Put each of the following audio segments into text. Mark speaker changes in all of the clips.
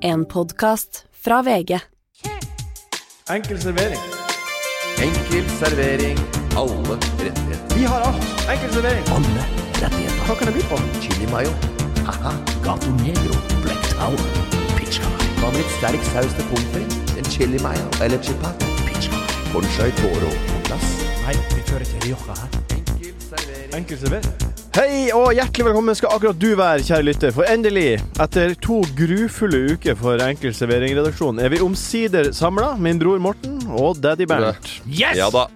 Speaker 1: En podkast fra VG.
Speaker 2: Enkel servering.
Speaker 3: Enkel servering. Alle rettigheter.
Speaker 2: Vi har alt. Enkel servering.
Speaker 4: Alle rettigheter.
Speaker 2: Hva kan det by på?
Speaker 3: Chili mayo. Haha.
Speaker 4: Gato Negro, Black Tower, Pizza Night,
Speaker 3: Hva med litt sterk saus til pommes frites? En chili mayo eller chipat?
Speaker 4: Pizza Night.
Speaker 3: Conchai toro på plass.
Speaker 4: Nei, vi kjører til Rioja her.
Speaker 3: Enkel servering.
Speaker 2: Enkel servering. Hei og hjertelig velkommen skal akkurat du være, kjære lytter. For endelig, etter to grufulle uker for Enkel servering-redaksjonen, er vi omsider samla, min bror Morten og daddy Bernt.
Speaker 4: Yes!
Speaker 5: Ja da.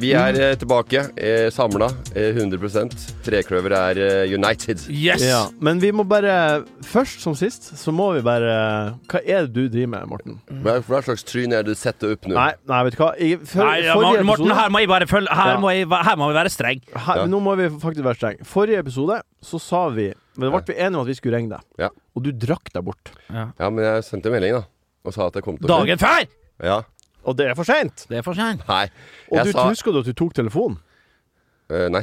Speaker 5: Vi er eh, tilbake, eh, samla, eh, 100 Trekløver er eh, united.
Speaker 4: Yes!
Speaker 2: Ja, men vi må bare Først som sist, så må vi bare Hva er det du driver med, Morten?
Speaker 5: Hva hva slags tryn er det du setter opp nå?
Speaker 2: Nei, nei vet du hva? I, for,
Speaker 6: Nei, ja,
Speaker 2: forrige
Speaker 6: Morten, Morten,
Speaker 2: episode-
Speaker 6: her må jeg bare følge Her,
Speaker 2: Ja.
Speaker 6: må, jeg, her må vi være streng.
Speaker 2: Her,
Speaker 5: Ja.
Speaker 2: Nå må vi faktisk være strenge. Forrige episode så sa vi Men da ble vi enige om at vi skulle ringe deg.
Speaker 5: Ja.
Speaker 2: Og du drakk deg bort.
Speaker 5: Ja, men jeg sendte en melding, da. Og sa at jeg kom til å
Speaker 6: Dagen før!
Speaker 5: Ja.
Speaker 2: Og det er for seint!
Speaker 6: Det er for seint.
Speaker 5: Nei.
Speaker 2: Og
Speaker 5: Jeg
Speaker 2: du
Speaker 5: sa
Speaker 2: husker du at du tok telefonen?
Speaker 5: Eh, Nei.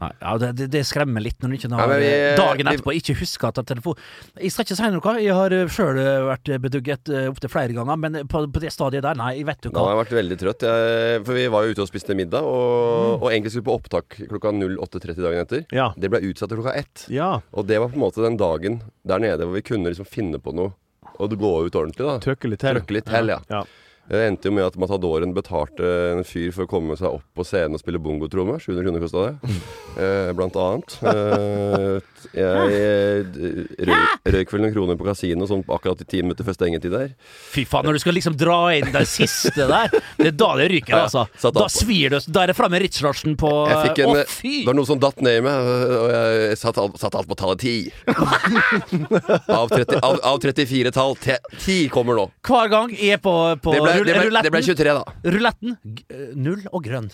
Speaker 6: Ja, det, det- det skremmer litt når du ikke
Speaker 5: Ja,
Speaker 6: har eh,
Speaker 5: men vi-
Speaker 6: dagen
Speaker 5: vi-
Speaker 6: etterpå ikke husker at det er telefon Jeg skal ikke si noe, jeg har sjøl vært bedugget eh, opptil flere ganger, men på, på det stadiet der, nei, vet du
Speaker 5: Da har jeg
Speaker 6: hva.
Speaker 5: vært veldig trøtt. Jeg, for vi var jo ute og spiste middag, og,
Speaker 2: Mm.
Speaker 5: og egentlig skulle vi på opptak klokka 08.30 dagen etter.
Speaker 2: Ja.
Speaker 5: Det ble utsatt til klokka ett.
Speaker 2: Ja.
Speaker 5: Og det var på en måte den dagen der nede hvor vi kunne liksom finne på noe. Og det går ut ordentlig, da.
Speaker 2: Trøkke litt til.
Speaker 5: Trøkke litt til, ja.
Speaker 2: Ja.
Speaker 5: Det endte jo med at Matadoren betalte en fyr for å komme seg opp på scenen og spille bongotromme. 700 kroner kosta det,
Speaker 2: Mm.
Speaker 5: eh, blant annet. Eh, jeg eh, røy- røyk vel noen kroner på kasino sånn akkurat i ti minutter før stengetid der.
Speaker 6: Fy faen, når du skal liksom dra inn den siste der, det er da det ryker,
Speaker 5: Ja,
Speaker 6: altså.
Speaker 5: satt
Speaker 6: Da
Speaker 5: opp.
Speaker 6: svir du. Da er det framme Richardsen på eh,
Speaker 5: Jeg fikk en,
Speaker 6: Å,
Speaker 5: det
Speaker 6: fy!
Speaker 5: var noe som datt ned i meg, og jeg satt, alt- satt alt på tallet 10. Av, 30, av, av 34 tall. te- 10 kommer nå.
Speaker 6: Hver gang jeg er på, på
Speaker 5: Det ble,
Speaker 6: rull-
Speaker 5: det ble, det ble
Speaker 6: ruletten.
Speaker 5: 23, da.
Speaker 6: Ruletten g- eh, null og grønn.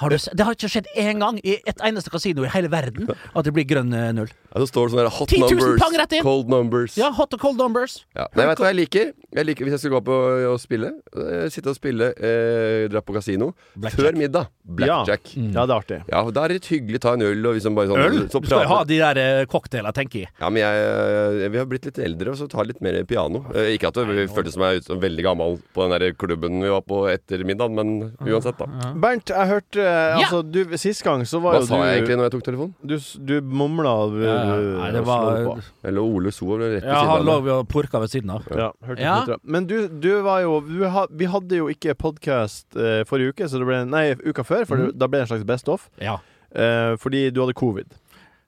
Speaker 6: Har du, se- det har ikke skjedd én gang i et eneste kasino i hele verden at det blir grønn eh, null.
Speaker 5: Ja, så står det sånne der hot
Speaker 6: 10 000
Speaker 5: numbers,
Speaker 6: pang rett inn.
Speaker 5: cold numbers.
Speaker 6: Ja, hot og cold numbers.
Speaker 5: Ja. Nei, vet du hva jeg liker? jeg liker? Hvis jeg skal gå opp og, og spille eh, Sitte og spille, eh, dra på kasino Før middag. Blackjack. Ja.
Speaker 2: Ja, det er artig.
Speaker 5: Da er det litt hyggelig å ta en øl. Og liksom bare sånn,
Speaker 6: Mm. Øl?
Speaker 5: Så
Speaker 6: Du skal jo ha
Speaker 5: prate-
Speaker 6: de der eh, cocktailene, tenker jeg.
Speaker 5: Ja, men jeg, eh, Vi har blitt litt eldre, og så tar litt mer piano. Eh, ikke at vi følte som jeg er ut- veldig gammel på den der klubben vi var på etter middagen, men uansett, da.
Speaker 2: Bernt, jeg hørte eh, Altså, du Sist gang så var
Speaker 5: Hva
Speaker 2: jo
Speaker 5: sa jeg
Speaker 2: du
Speaker 5: egentlig når jeg tok telefonen?
Speaker 2: Du, s- du mumla du- du-
Speaker 6: Nei, det var
Speaker 2: slo Eh, på.
Speaker 5: Eller Ole So ble rett ved
Speaker 6: Ja, han
Speaker 5: siden
Speaker 6: lå
Speaker 5: av. meg.
Speaker 6: jo og purka ved siden av.
Speaker 2: Ja, hørte
Speaker 6: Ja.
Speaker 2: knyttet. Men du, du var jo du ha, Vi hadde jo ikke podkast eh, forrige uke, så det ble, nei, uka før, for
Speaker 5: Mhm.
Speaker 2: da ble det en slags best off.
Speaker 6: Ja.
Speaker 2: Eh, fordi du hadde covid.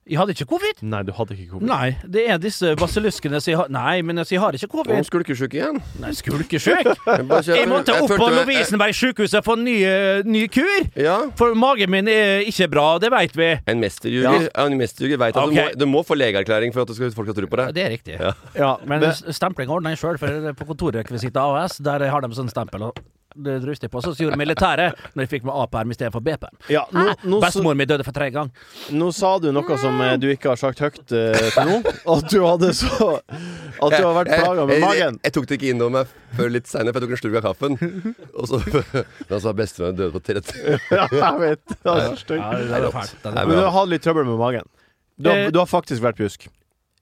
Speaker 6: Jeg hadde ikke covid.
Speaker 2: Nei, du hadde ikke covid.
Speaker 6: Nei, det er disse basilluskene som jeg har Nei, men altså, jeg har ikke
Speaker 5: Å,
Speaker 6: covid.
Speaker 5: Skulkesjuk igjen.
Speaker 6: Nei, Skulkesjuk.
Speaker 5: Jeg, bare kjøper-
Speaker 6: Jeg måtte
Speaker 5: jeg
Speaker 6: opp på
Speaker 5: følte meg-
Speaker 6: Lovisenberg sykehus og få ny, eh, ny kur.
Speaker 5: jeg- Ja.
Speaker 6: For magen min er ikke bra, det veit vi.
Speaker 5: En mesterjuger
Speaker 2: Ja.
Speaker 5: ja. En mesterjuger vet at du,
Speaker 6: Ok.
Speaker 5: må, du må få legeerklæring for at du skal, folk skal tro på deg.
Speaker 6: Det er riktig.
Speaker 2: Ja,
Speaker 6: Men
Speaker 2: det-
Speaker 6: s- stempling ordner jeg sjøl, for på kontorrekvisitt AS der har de sånn stempel. Og det druste jeg på. Så gjorde militæret når jeg fikk med A-perm istedenfor B-perm.
Speaker 2: ja, nå, nå, s-
Speaker 6: Bestemor mi døde for tredje gang.
Speaker 2: nå sa du noe som eh, du ikke har sagt høyt eh, til nå. At du hadde så At du har vært
Speaker 5: Jeg-
Speaker 2: plaga med
Speaker 5: jeg-
Speaker 2: magen.
Speaker 5: Jeg, jeg tok det ikke inn over meg før litt seinere, for jeg tok en slurk av kaffen. Og så Da sa bestevenn døde på 30.
Speaker 2: Ja, jeg vet. Det var så stygt.
Speaker 6: det
Speaker 5: er
Speaker 6: er
Speaker 5: rått.
Speaker 6: fælt.
Speaker 5: Nei,
Speaker 2: Men du
Speaker 5: bra.
Speaker 2: har hatt litt trøbbel med magen. Du har,
Speaker 6: Eh,
Speaker 2: du har faktisk vært pjusk.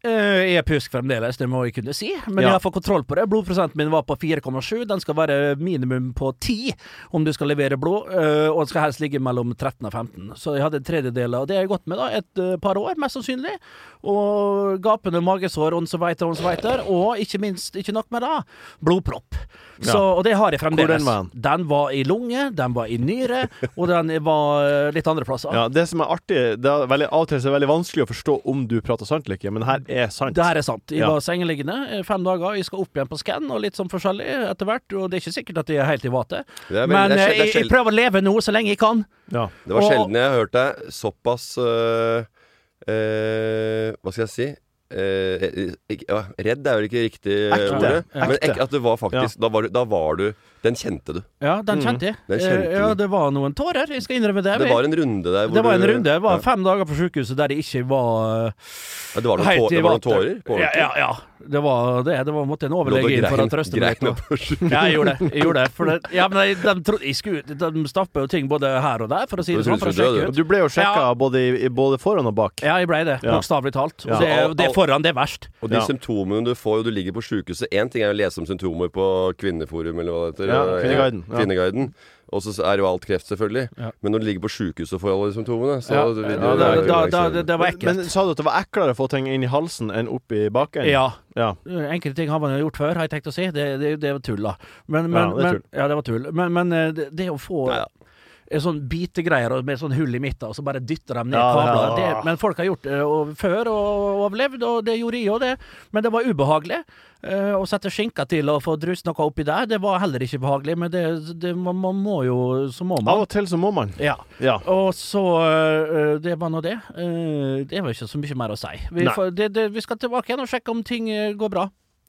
Speaker 6: Eh, Jeg er pjusk fremdeles, det må jeg kunne si. Men
Speaker 2: Ja.
Speaker 6: jeg har fått kontroll på det. Blodprosenten min var på 4,7. Den skal være minimum på 10 om du skal levere blod. eh, Og den skal helst ligge mellom 13 og 15. Så jeg hadde en tredjedel, og det har jeg gått med da et eh, par år, mest sannsynlig. Og gapende magesår, onseveiter, onseveiter. Og ikke minst, ikke nok med det, blodpropp. Så, Og det har jeg fremdeles.
Speaker 2: den var den?
Speaker 6: Den var i lunge, den var i nyre, og den var eh, litt andre plasser.
Speaker 2: Ja, det som er artig Det er veldig, Av og til så er det veldig vanskelig å forstå om du prater sant eller ikke, men her er sant.
Speaker 6: Det her er sant. Jeg
Speaker 2: Ja.
Speaker 6: var sengeliggende eh, fem dager, jeg skal opp igjen på skann og litt sånn forskjellig etter hvert. Og det er ikke sikkert at jeg er helt i vatet.
Speaker 5: Det, er veldig-
Speaker 6: Men
Speaker 5: det, er
Speaker 6: eh,
Speaker 5: sjel- det,
Speaker 6: jeg,
Speaker 5: er
Speaker 6: jeg
Speaker 5: sjel-
Speaker 6: prøver å leve nå så lenge jeg kan.
Speaker 2: Ja.
Speaker 5: det var
Speaker 6: og-
Speaker 5: sjelden jeg har hørt deg såpass øh, øh, Hva skal jeg si? Eh, ikke- ja, redd er vel ikke riktig eh,
Speaker 2: Ekte.
Speaker 5: ordet, men
Speaker 2: Ekte.
Speaker 5: ek, at du var faktisk da, var du, da var du Den kjente du.
Speaker 6: Ja, den kjente jeg.
Speaker 5: den kjente
Speaker 6: Eh, ja,
Speaker 5: du.
Speaker 6: det var noen tårer, jeg skal innrømme det.
Speaker 5: Det var en runde der hvor
Speaker 6: det var en
Speaker 5: du-
Speaker 6: runde. Det var
Speaker 5: Ja.
Speaker 6: fem dager på sykehuset der jeg ikke var eh,
Speaker 5: Ja, det var noen
Speaker 6: helt
Speaker 5: tårer,
Speaker 6: i
Speaker 5: det var noen
Speaker 6: vater.
Speaker 5: tårer på
Speaker 6: Ja,
Speaker 5: ordentlig.
Speaker 6: ja, ja. Det var det. Det var måtte en overlege inn for å trøste meg.
Speaker 5: grein
Speaker 6: litt nå.
Speaker 5: oppå skjorten.
Speaker 6: Ja, jeg gjorde det. Jeg gjorde det, for det ja, men jeg, de, tro, jeg skulle, de stappa jo ting både her og der, for å si
Speaker 5: Du
Speaker 6: det sånn.
Speaker 5: trodde
Speaker 6: For
Speaker 5: du
Speaker 6: å
Speaker 5: skulle
Speaker 6: sjekke
Speaker 5: dø,
Speaker 6: ut.
Speaker 2: Du ble jo sjekka
Speaker 6: Ja.
Speaker 2: både, i- både foran og bak.
Speaker 6: Ja, jeg blei det.
Speaker 2: Ja.
Speaker 6: Bokstavelig talt. Og
Speaker 2: Ja.
Speaker 6: det,
Speaker 5: Al-
Speaker 6: det
Speaker 5: al-
Speaker 6: foran, det er verst.
Speaker 5: Og de
Speaker 2: Ja.
Speaker 5: symptomene du får, og du ligger på sjukehuset Én ting er å lese om symptomer på Kvinneforum eller hva det heter.
Speaker 2: Ja,
Speaker 5: eh,
Speaker 2: Kvinneguiden, ja.
Speaker 5: Kvinneguiden. Og så er jo alt kreft, selvfølgelig.
Speaker 6: Ja.
Speaker 5: Men når du ligger på sjukehuset og får alle de symptomene, så
Speaker 6: Ja,
Speaker 5: vil du-
Speaker 6: da, da, da, da, det, det var
Speaker 2: Men
Speaker 6: ekkelt.
Speaker 2: sa du at det var eklere å få ting inn i halsen enn opp i baken?
Speaker 6: Ja.
Speaker 2: ja.
Speaker 6: Enkelte ting har man jo gjort før, har jeg tenkt å si. Det, det, det var tull, da. Men, men,
Speaker 2: Ja, det er
Speaker 6: men, ja, det var tull. Men, men eh, det, det å få en sånn bitegreier og med sånn hull i midten, og så bare dytter de ned
Speaker 2: Ja, det er-
Speaker 6: kabler. Det, men folk har gjort det og, før og, og overlevd, og det gjorde jeg òg, det. Men det var ubehagelig. Eh, å sette skinka til og få drust noe oppi der, det var heller ikke behagelig, men det, det, man, man må jo Så må man.
Speaker 2: Av og til så må man.
Speaker 6: Ja.
Speaker 2: Ja.
Speaker 6: Og så øh, Det var nå det. Øh, Det var ikke så mye mer å si. Vi,
Speaker 2: Nei.
Speaker 6: får, det, det, vi skal tilbake igjen og sjekke om ting øh, går bra.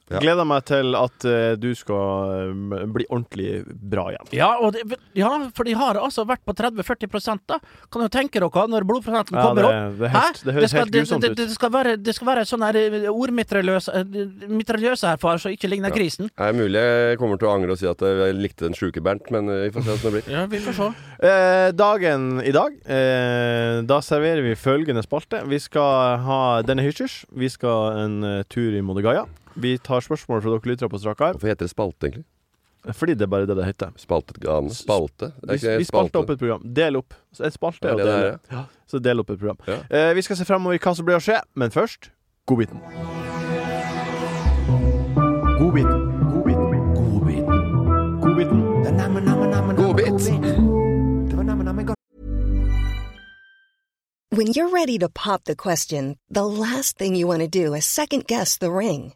Speaker 5: Ja.
Speaker 2: Gleder meg til at eh, du skal eh, bli ordentlig bra igjen.
Speaker 6: Ja, og det, ja, for de har altså vært på 30-40 da. Kan jo tenke dere når blodprosenten
Speaker 2: Ja,
Speaker 6: kommer
Speaker 2: det-
Speaker 6: opp.
Speaker 2: det er
Speaker 6: Hæ?
Speaker 2: helt- det høres
Speaker 6: skal,
Speaker 2: helt grusomt
Speaker 6: det,
Speaker 2: ut.
Speaker 6: det, det skal være, det skal være sånn her øh, ordmitraljøse øh, mitraljøse her, far, så ikke ligner grisen.
Speaker 5: Det er mulig jeg kommer til å angre og si at jeg likte den sjuke Bernt, men eh, vi får se hvordan det blir.
Speaker 6: Ja, vi får se.
Speaker 2: Eh, dagen i dag, eh, da serverer vi følgende spalte. Vi skal ha denne hysjers. Vi skal en eh, tur i Modigaya. Vi tar spørsmål fra dere lyttere på strak arm,
Speaker 5: Hvorfor heter det spalte, egentlig?
Speaker 2: fordi det er bare det det heter.
Speaker 5: Spaltet gane? Spalte? Det er
Speaker 2: Vi,
Speaker 5: ikke
Speaker 2: vi spalter opp et program. Del opp. Så En spalte
Speaker 5: Ja,
Speaker 2: er å
Speaker 5: det er
Speaker 2: dele.
Speaker 5: det.
Speaker 2: Ja, Så del opp et program.
Speaker 5: Ja.
Speaker 2: Eh, vi skal se fremover i hva som blir å skje, men først godbiten. Godbiten. Godbiten.
Speaker 4: Godbiten.
Speaker 2: Godbiten.
Speaker 5: Godbit!
Speaker 7: When you're ready to pop the question, the last thing you want to do is second guess the ring.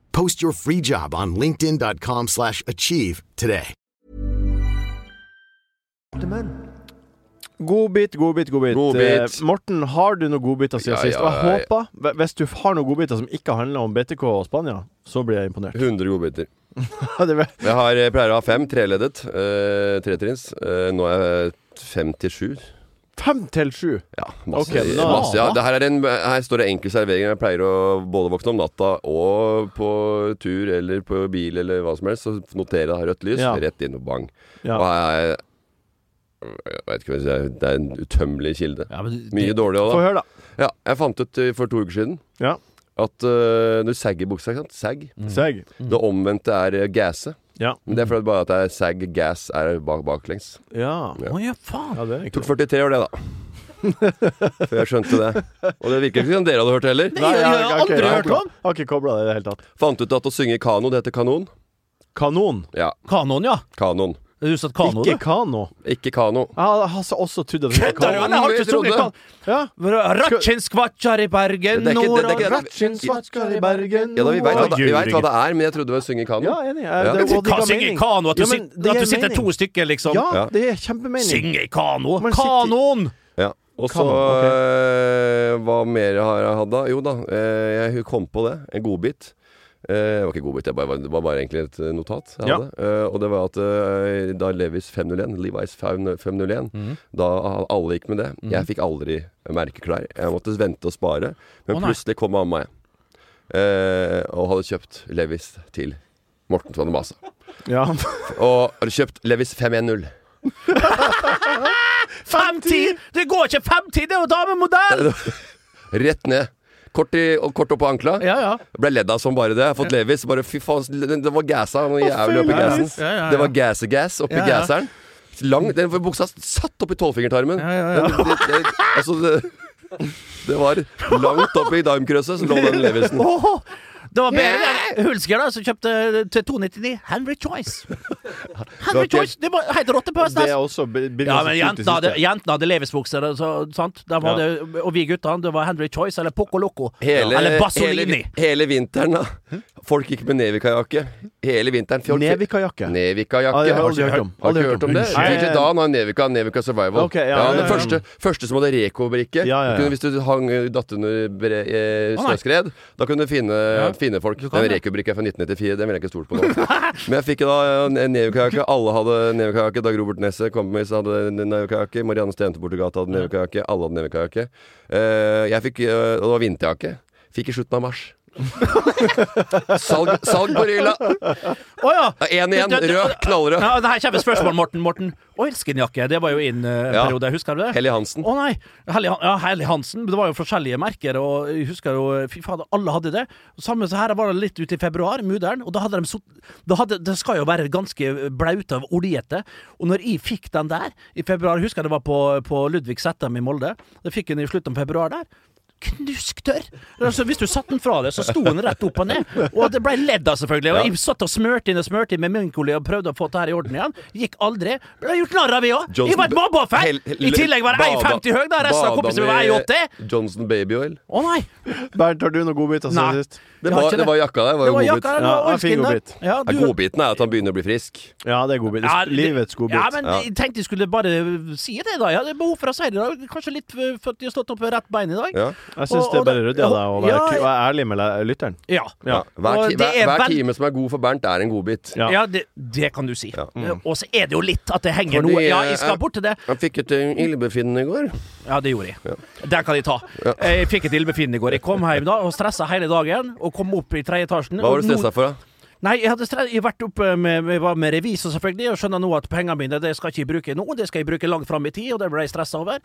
Speaker 4: Post your free job on linkedin.com/achieve slash achieve today.
Speaker 2: Godbit, godbit, godbit.
Speaker 5: Godbit.
Speaker 2: Eh, Morten, har du noen godbiter siden
Speaker 5: Ja,
Speaker 2: sist?
Speaker 5: ja,
Speaker 2: Og jeg
Speaker 5: ja, ja.
Speaker 2: håper, hve- hvis du har noen godbiter som ikke handler om BTK og Spania, så blir jeg imponert.
Speaker 5: 100 godbiter.
Speaker 2: Det var-
Speaker 5: Jeg, har, jeg pleier å ha fem, treleddet. Eh, Tretrins. Eh, nå er jeg fem til sju.
Speaker 2: Fem til sju!
Speaker 5: Ja, masse,
Speaker 2: Ok, da-
Speaker 5: masse ja. Det her, er en, her står det enkel servering. Jeg pleier å både våkne om natta og på tur eller på bil eller hva som helst, så noterer jeg det her rødt lys,
Speaker 2: Ja.
Speaker 5: rett inn og bang.
Speaker 2: Ja.
Speaker 5: Og her er jeg, jeg vet ikke hva jeg skal si, det er en utømmelig kilde.
Speaker 6: Ja, men det-
Speaker 5: Mye dårlig
Speaker 2: Få
Speaker 5: òg, da.
Speaker 2: høre, da.
Speaker 5: Ja, jeg fant ut eh, for to uker siden
Speaker 2: Ja.
Speaker 5: at eh, når sag i buksa, ikke sant? Sag.
Speaker 6: Mm.
Speaker 2: Seg.
Speaker 5: Det omvendte er eh, gasse.
Speaker 2: Ja.
Speaker 5: Men Det er fordi bare at det er sag, gas er bak, baklengs.
Speaker 2: Ja.
Speaker 6: Å ja, faen.
Speaker 2: ja, det er
Speaker 5: Tok
Speaker 2: ikke
Speaker 5: 43 år, det, da. Før jeg skjønte det. Og det virker ikke som dere hadde hørt det heller.
Speaker 2: Nei, jeg har
Speaker 6: jeg har
Speaker 2: ikke-
Speaker 6: aldri
Speaker 2: jeg har
Speaker 6: hørt
Speaker 2: ikke-
Speaker 6: om.
Speaker 2: Jeg Har ikke kobla det i det hele tatt.
Speaker 5: Fant ut at å synge kano, det heter kanon.
Speaker 2: Kanon.
Speaker 5: Ja,
Speaker 6: Kanon, ja.
Speaker 5: kanon.
Speaker 6: Du satt kano, du.
Speaker 2: ikke kano.
Speaker 5: Ikke kano.
Speaker 2: Jeg har har så også trodd at det var
Speaker 6: Kødder du?
Speaker 2: kano.
Speaker 6: Jeg har
Speaker 5: Jeg
Speaker 6: ikke sunget
Speaker 5: trodde-
Speaker 6: kanon.
Speaker 2: Ja.
Speaker 6: Ratchinskvatsjar i Bergen,
Speaker 5: Det er ikke-
Speaker 6: nord
Speaker 5: det er
Speaker 6: og
Speaker 5: ikke-
Speaker 2: Ratchinsvatskar i Bergen
Speaker 5: Ja da, Vi veit hva,
Speaker 2: og-
Speaker 5: det- vi vet hva det er, men jeg trodde det var å synge kano.
Speaker 2: Ja, enig. Eh,
Speaker 5: Ja.
Speaker 2: det- og det
Speaker 6: Hva
Speaker 2: ga
Speaker 6: synger i
Speaker 2: mening.
Speaker 6: kano? At du,
Speaker 2: Ja, men
Speaker 6: sit-
Speaker 2: det
Speaker 6: at
Speaker 2: gir
Speaker 6: du sitter
Speaker 2: mening.
Speaker 6: to stykker, liksom?
Speaker 2: Ja,
Speaker 5: Ja.
Speaker 2: det er kjempemening.
Speaker 6: Synge i kano?
Speaker 2: Man sitter-
Speaker 6: Kanon!
Speaker 5: Ja. Og så
Speaker 2: Kanon, ok.
Speaker 5: eh, Hva mer har jeg hatt, da? Jo da, eh, jeg kom på det. En godbit. Eh, det var ikke godbit, det var bare- det var bare egentlig et eh, notat. Jeg
Speaker 2: Ja.
Speaker 5: hadde. Eh, og det var at eh, da Levis 501, Levi's 501, da alle gikk med det Jeg fikk aldri merkeklær. Jeg måtte vente og spare. Men
Speaker 6: Å, nei.
Speaker 5: plutselig kom mamma igjen. Eh, og hadde kjøpt Levis til Morten som hadde masa.
Speaker 2: Ja.
Speaker 5: Og hadde kjøpt Levis 510.
Speaker 6: 5-10! Det går ikke 5-10, det er jo damemodell!
Speaker 5: Rett ned. Kort, i, og kort opp på ankla.
Speaker 6: Ja, ja.
Speaker 5: Jeg Ble ledd av som bare det. Jeg har fått Levis. Bare fy faen, det var gassa. Noe jævlig oppi
Speaker 2: Levis.
Speaker 5: gassen.
Speaker 6: Ja, ja, ja.
Speaker 5: Det var gasse-gass oppi
Speaker 6: Ja, ja.
Speaker 5: gasseren. lang Den buksa satt opp i tolvfingertarmen.
Speaker 6: Ja, ja, ja.
Speaker 5: Den- det- det- altså, det, det var langt opp i daimkrøsset som lå den Levisen.
Speaker 6: Åh, det var bedre enn Hulsker da, som kjøpte eh, til 299 Henry Choice. Henry
Speaker 2: Det var ikke-
Speaker 6: Choice! Det var helt råtte på
Speaker 2: Det er
Speaker 6: høsten.
Speaker 2: også be- blir
Speaker 6: Ja,
Speaker 2: ganske
Speaker 6: men
Speaker 2: kult i
Speaker 6: jentene hadde,
Speaker 2: siste.
Speaker 6: jentene hadde Levis-bukser, så- sant? De hadde, og vi guttene, det var Henry Choice eller Poco Loco.
Speaker 5: Hele,
Speaker 6: eller Bassolini.
Speaker 5: hele, hele vinteren, da. Folk gikk med Nevika-jakke. Hele vinteren. Folk-
Speaker 2: Nevika-jakke.
Speaker 5: Nevika-jakke.
Speaker 2: Ja, det har jeg aldri hørt om.
Speaker 5: Har
Speaker 2: Aldri
Speaker 5: ikke hørt om det?
Speaker 2: Nei,
Speaker 5: DJ Dan har Nevika, Nevika Survival.
Speaker 2: Ok, ja, ja,
Speaker 5: den
Speaker 2: ja, ja.
Speaker 5: Første, første som hadde reko-brikke.
Speaker 2: Ja, ja, ja.
Speaker 5: Du kunne- Hvis du hang datt under bre, eh,
Speaker 6: Å, nei.
Speaker 5: snøskred, da kunne du finne, finne folk.
Speaker 6: kan
Speaker 5: Den
Speaker 6: det.
Speaker 5: reko-brikka fra 1994, den ville jeg ikke stolt på nå. Men jeg fikk da eh, en Nevika-jakke. Alle hadde Nevika-jakke. Dag Robert Nesset, kompis, hadde en Nevika-jakke. Marianne Stente Bortegata hadde Nevika-jakke. Alle hadde Nevika-jakke. Eh, jeg fikk, eh, og det var vinterjakke. Fikk i slutten av mars. salg, salg på Ryla!
Speaker 6: Å ja!
Speaker 5: Én igjen,
Speaker 6: Det- det-
Speaker 5: rød, knallrød.
Speaker 6: Ja, det her kommer spørsmål, Morten. Morten. Oilskinjakke, det var jo inn eh, en
Speaker 5: Ja.
Speaker 6: periode, husker du det?
Speaker 5: Helly Hansen.
Speaker 6: Å nei! Hellig, ja, Hellig Hansen. Det var jo forskjellige merker, og jeg husker jo Fy fader, alle hadde det. Samme så her var det litt ute i februar, mudder'n, og da hadde de sot... Da hadde, det skal jo være ganske blaute og oljete, og når jeg fikk den der i februar jeg Husker det var på, på Ludvig Settem i Molde. Jeg fikk den i slutten av februar der. Knusktørr! Altså, hvis du satte den fra deg, så sto den rett opp og ned. Og det ble ledd av, selvfølgelig. Og jeg satt og smurte inn og smurte inn med minkolje og prøvde å få det her i orden igjen. Gikk aldri. Ble gjort narr av, vi òg! Jeg var et mobbeoffer!
Speaker 5: Hel- hel-
Speaker 6: I tillegg var jeg
Speaker 5: bada-
Speaker 6: 1,50 høy, da resten av
Speaker 5: bada
Speaker 6: kompisene
Speaker 5: med
Speaker 6: mine var 1,80!
Speaker 5: Johnson Baby Oil.
Speaker 6: Å nei!
Speaker 2: Bernt, har du noen godbiter
Speaker 6: Nei.
Speaker 2: siden sist?
Speaker 5: Altså, Det
Speaker 6: Jeg har
Speaker 5: var,
Speaker 6: ikke
Speaker 5: det var jakka der. Var jo
Speaker 6: Det var
Speaker 5: godbit.
Speaker 6: jakka, det
Speaker 2: Ja,
Speaker 6: var
Speaker 2: jeg fikk
Speaker 6: oilskin der.
Speaker 2: godbit.
Speaker 6: Ja,
Speaker 5: Ja, Godbiten er at han begynner å bli frisk.
Speaker 2: Ja, det er godbit.
Speaker 6: Ja,
Speaker 2: Livets godbit.
Speaker 6: Ja, men jeg tenkte jeg skulle bare si det, da. Jeg hadde behov for å si det. i dag. Kanskje litt eh, for at de har stått opp med rett bein i dag.
Speaker 5: Ja.
Speaker 2: Jeg syns
Speaker 6: Og-
Speaker 2: det er
Speaker 6: og
Speaker 2: bare
Speaker 6: det-
Speaker 2: ryddig av deg å være,
Speaker 6: Ja,
Speaker 2: å være ærlig med le- lytteren.
Speaker 6: Ja.
Speaker 2: Ja.
Speaker 5: Hver,
Speaker 6: Og
Speaker 5: ti,
Speaker 6: det
Speaker 5: hver,
Speaker 6: er
Speaker 5: hver
Speaker 6: vel-
Speaker 5: time som er god for Bernt, er en godbit.
Speaker 2: Ja.
Speaker 6: Ja, det, det kan du si. Eh, Og så er det jo litt at det henger
Speaker 5: Mm. Fordi,
Speaker 6: noe Ja, jeg
Speaker 5: eh,
Speaker 6: skal bort til det.
Speaker 5: Han fikk et eh, illebefinnende i går.
Speaker 6: Ja, det gjorde jeg. Den kan jeg ta. Jeg fikk et illebefinnende i går. Jeg kom hjem da og stressa hele dagen, og kom opp i tredje etasjen.
Speaker 5: Hva var du stressa for, da?
Speaker 6: Nei, jeg hadde stress, jeg har vært oppe med, med, var med revisor selvfølgelig, og skjønner nå at pengene mine det skal ikke jeg bruke nå, det skal jeg bruke langt fram i tid, og det ble jeg stressa over.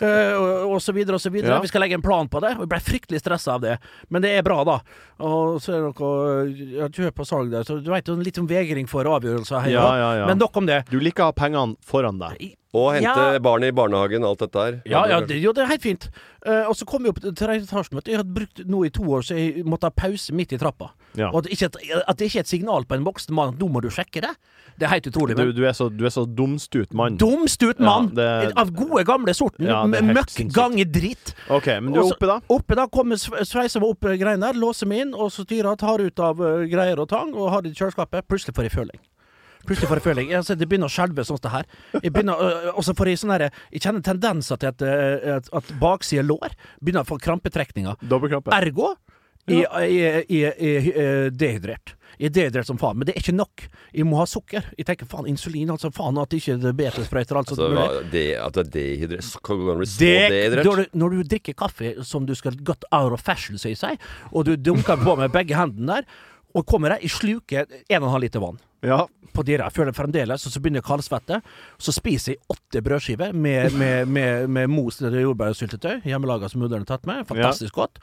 Speaker 6: Eh, og, og så videre og så videre.
Speaker 2: Ja.
Speaker 6: Vi skal legge en plan på det, og jeg ble fryktelig stressa av det. Men det er bra, da. Og så er det noe ja, kjøp og salg der, så du veit litt om vegring for avgjørelser her.
Speaker 2: Ja,
Speaker 6: da.
Speaker 2: ja, ja.
Speaker 6: Men nok om det.
Speaker 2: Du liker å ha pengene foran deg.
Speaker 5: Å hente
Speaker 6: Ja.
Speaker 5: barn i barnehagen, alt dette her.
Speaker 6: Ja, ja, det, jo, det er helt fint. Eh, og så kom vi opp til tredje etasjen. Vet du. Jeg hadde brukt nå i to år, så jeg måtte ha pause midt i trappa.
Speaker 2: Ja.
Speaker 6: Og at, ikke, at, at det ikke er et signal på en voksen mann at 'nå må du sjekke det', det er helt utrolig.
Speaker 2: Du,
Speaker 6: Men
Speaker 2: du, er, så, du er så dumstut mann.
Speaker 6: dumstut mann!
Speaker 2: Ja, det-
Speaker 6: av gode, gamle sorten.
Speaker 2: Ja, det er helt
Speaker 6: møkk,
Speaker 2: sinnssykt.
Speaker 6: gange, dritt.
Speaker 2: OK, men du er
Speaker 6: Og så-
Speaker 2: oppe, da?
Speaker 6: Oppe da kommer sve- sveisa meg opp eh, greiene der, låser meg inn, og så styrer jeg, tar ut av eh, greier og tang og har det i kjøleskapet. Plutselig får jeg føling. Plutselig får jeg føling. Jeg, altså, det begynner å skjelve sånn som det her. Jeg begynner, øh, øh, og så får jeg sånn herre Jeg kjenner tendenser til at, øh, at, at bakside lår begynner å få krampetrekninger.
Speaker 2: Dobbeltkrampe.
Speaker 6: Ergo jeg, jeg, jeg, jeg er dehydrert. Jeg er dehydrert som faen, men det er ikke nok. Jeg må ha sukker. Jeg tenker faen, insulin, altså faen, at ikke diabetessprøyter og alt sånt.
Speaker 5: Altså,
Speaker 6: mulig.
Speaker 5: hva- det, at det er dehydrert Så Kan du bli så
Speaker 6: Det,
Speaker 5: dehydrert?
Speaker 6: når, du, når du drikker kaffe som du skal godt out of fashion, sier seg, og du dunker på med begge hendene der, og kommer der, jeg sluker en og en halv liter vann
Speaker 2: Ja.
Speaker 6: på dere. Jeg føler fremdeles, og så begynner jeg å kaldsvette. Så spiser jeg åtte brødskiver med, med, med, med mos eller jordbærsyltetøy, hjemmelaga som mudder'n har tatt med. Fantastisk godt.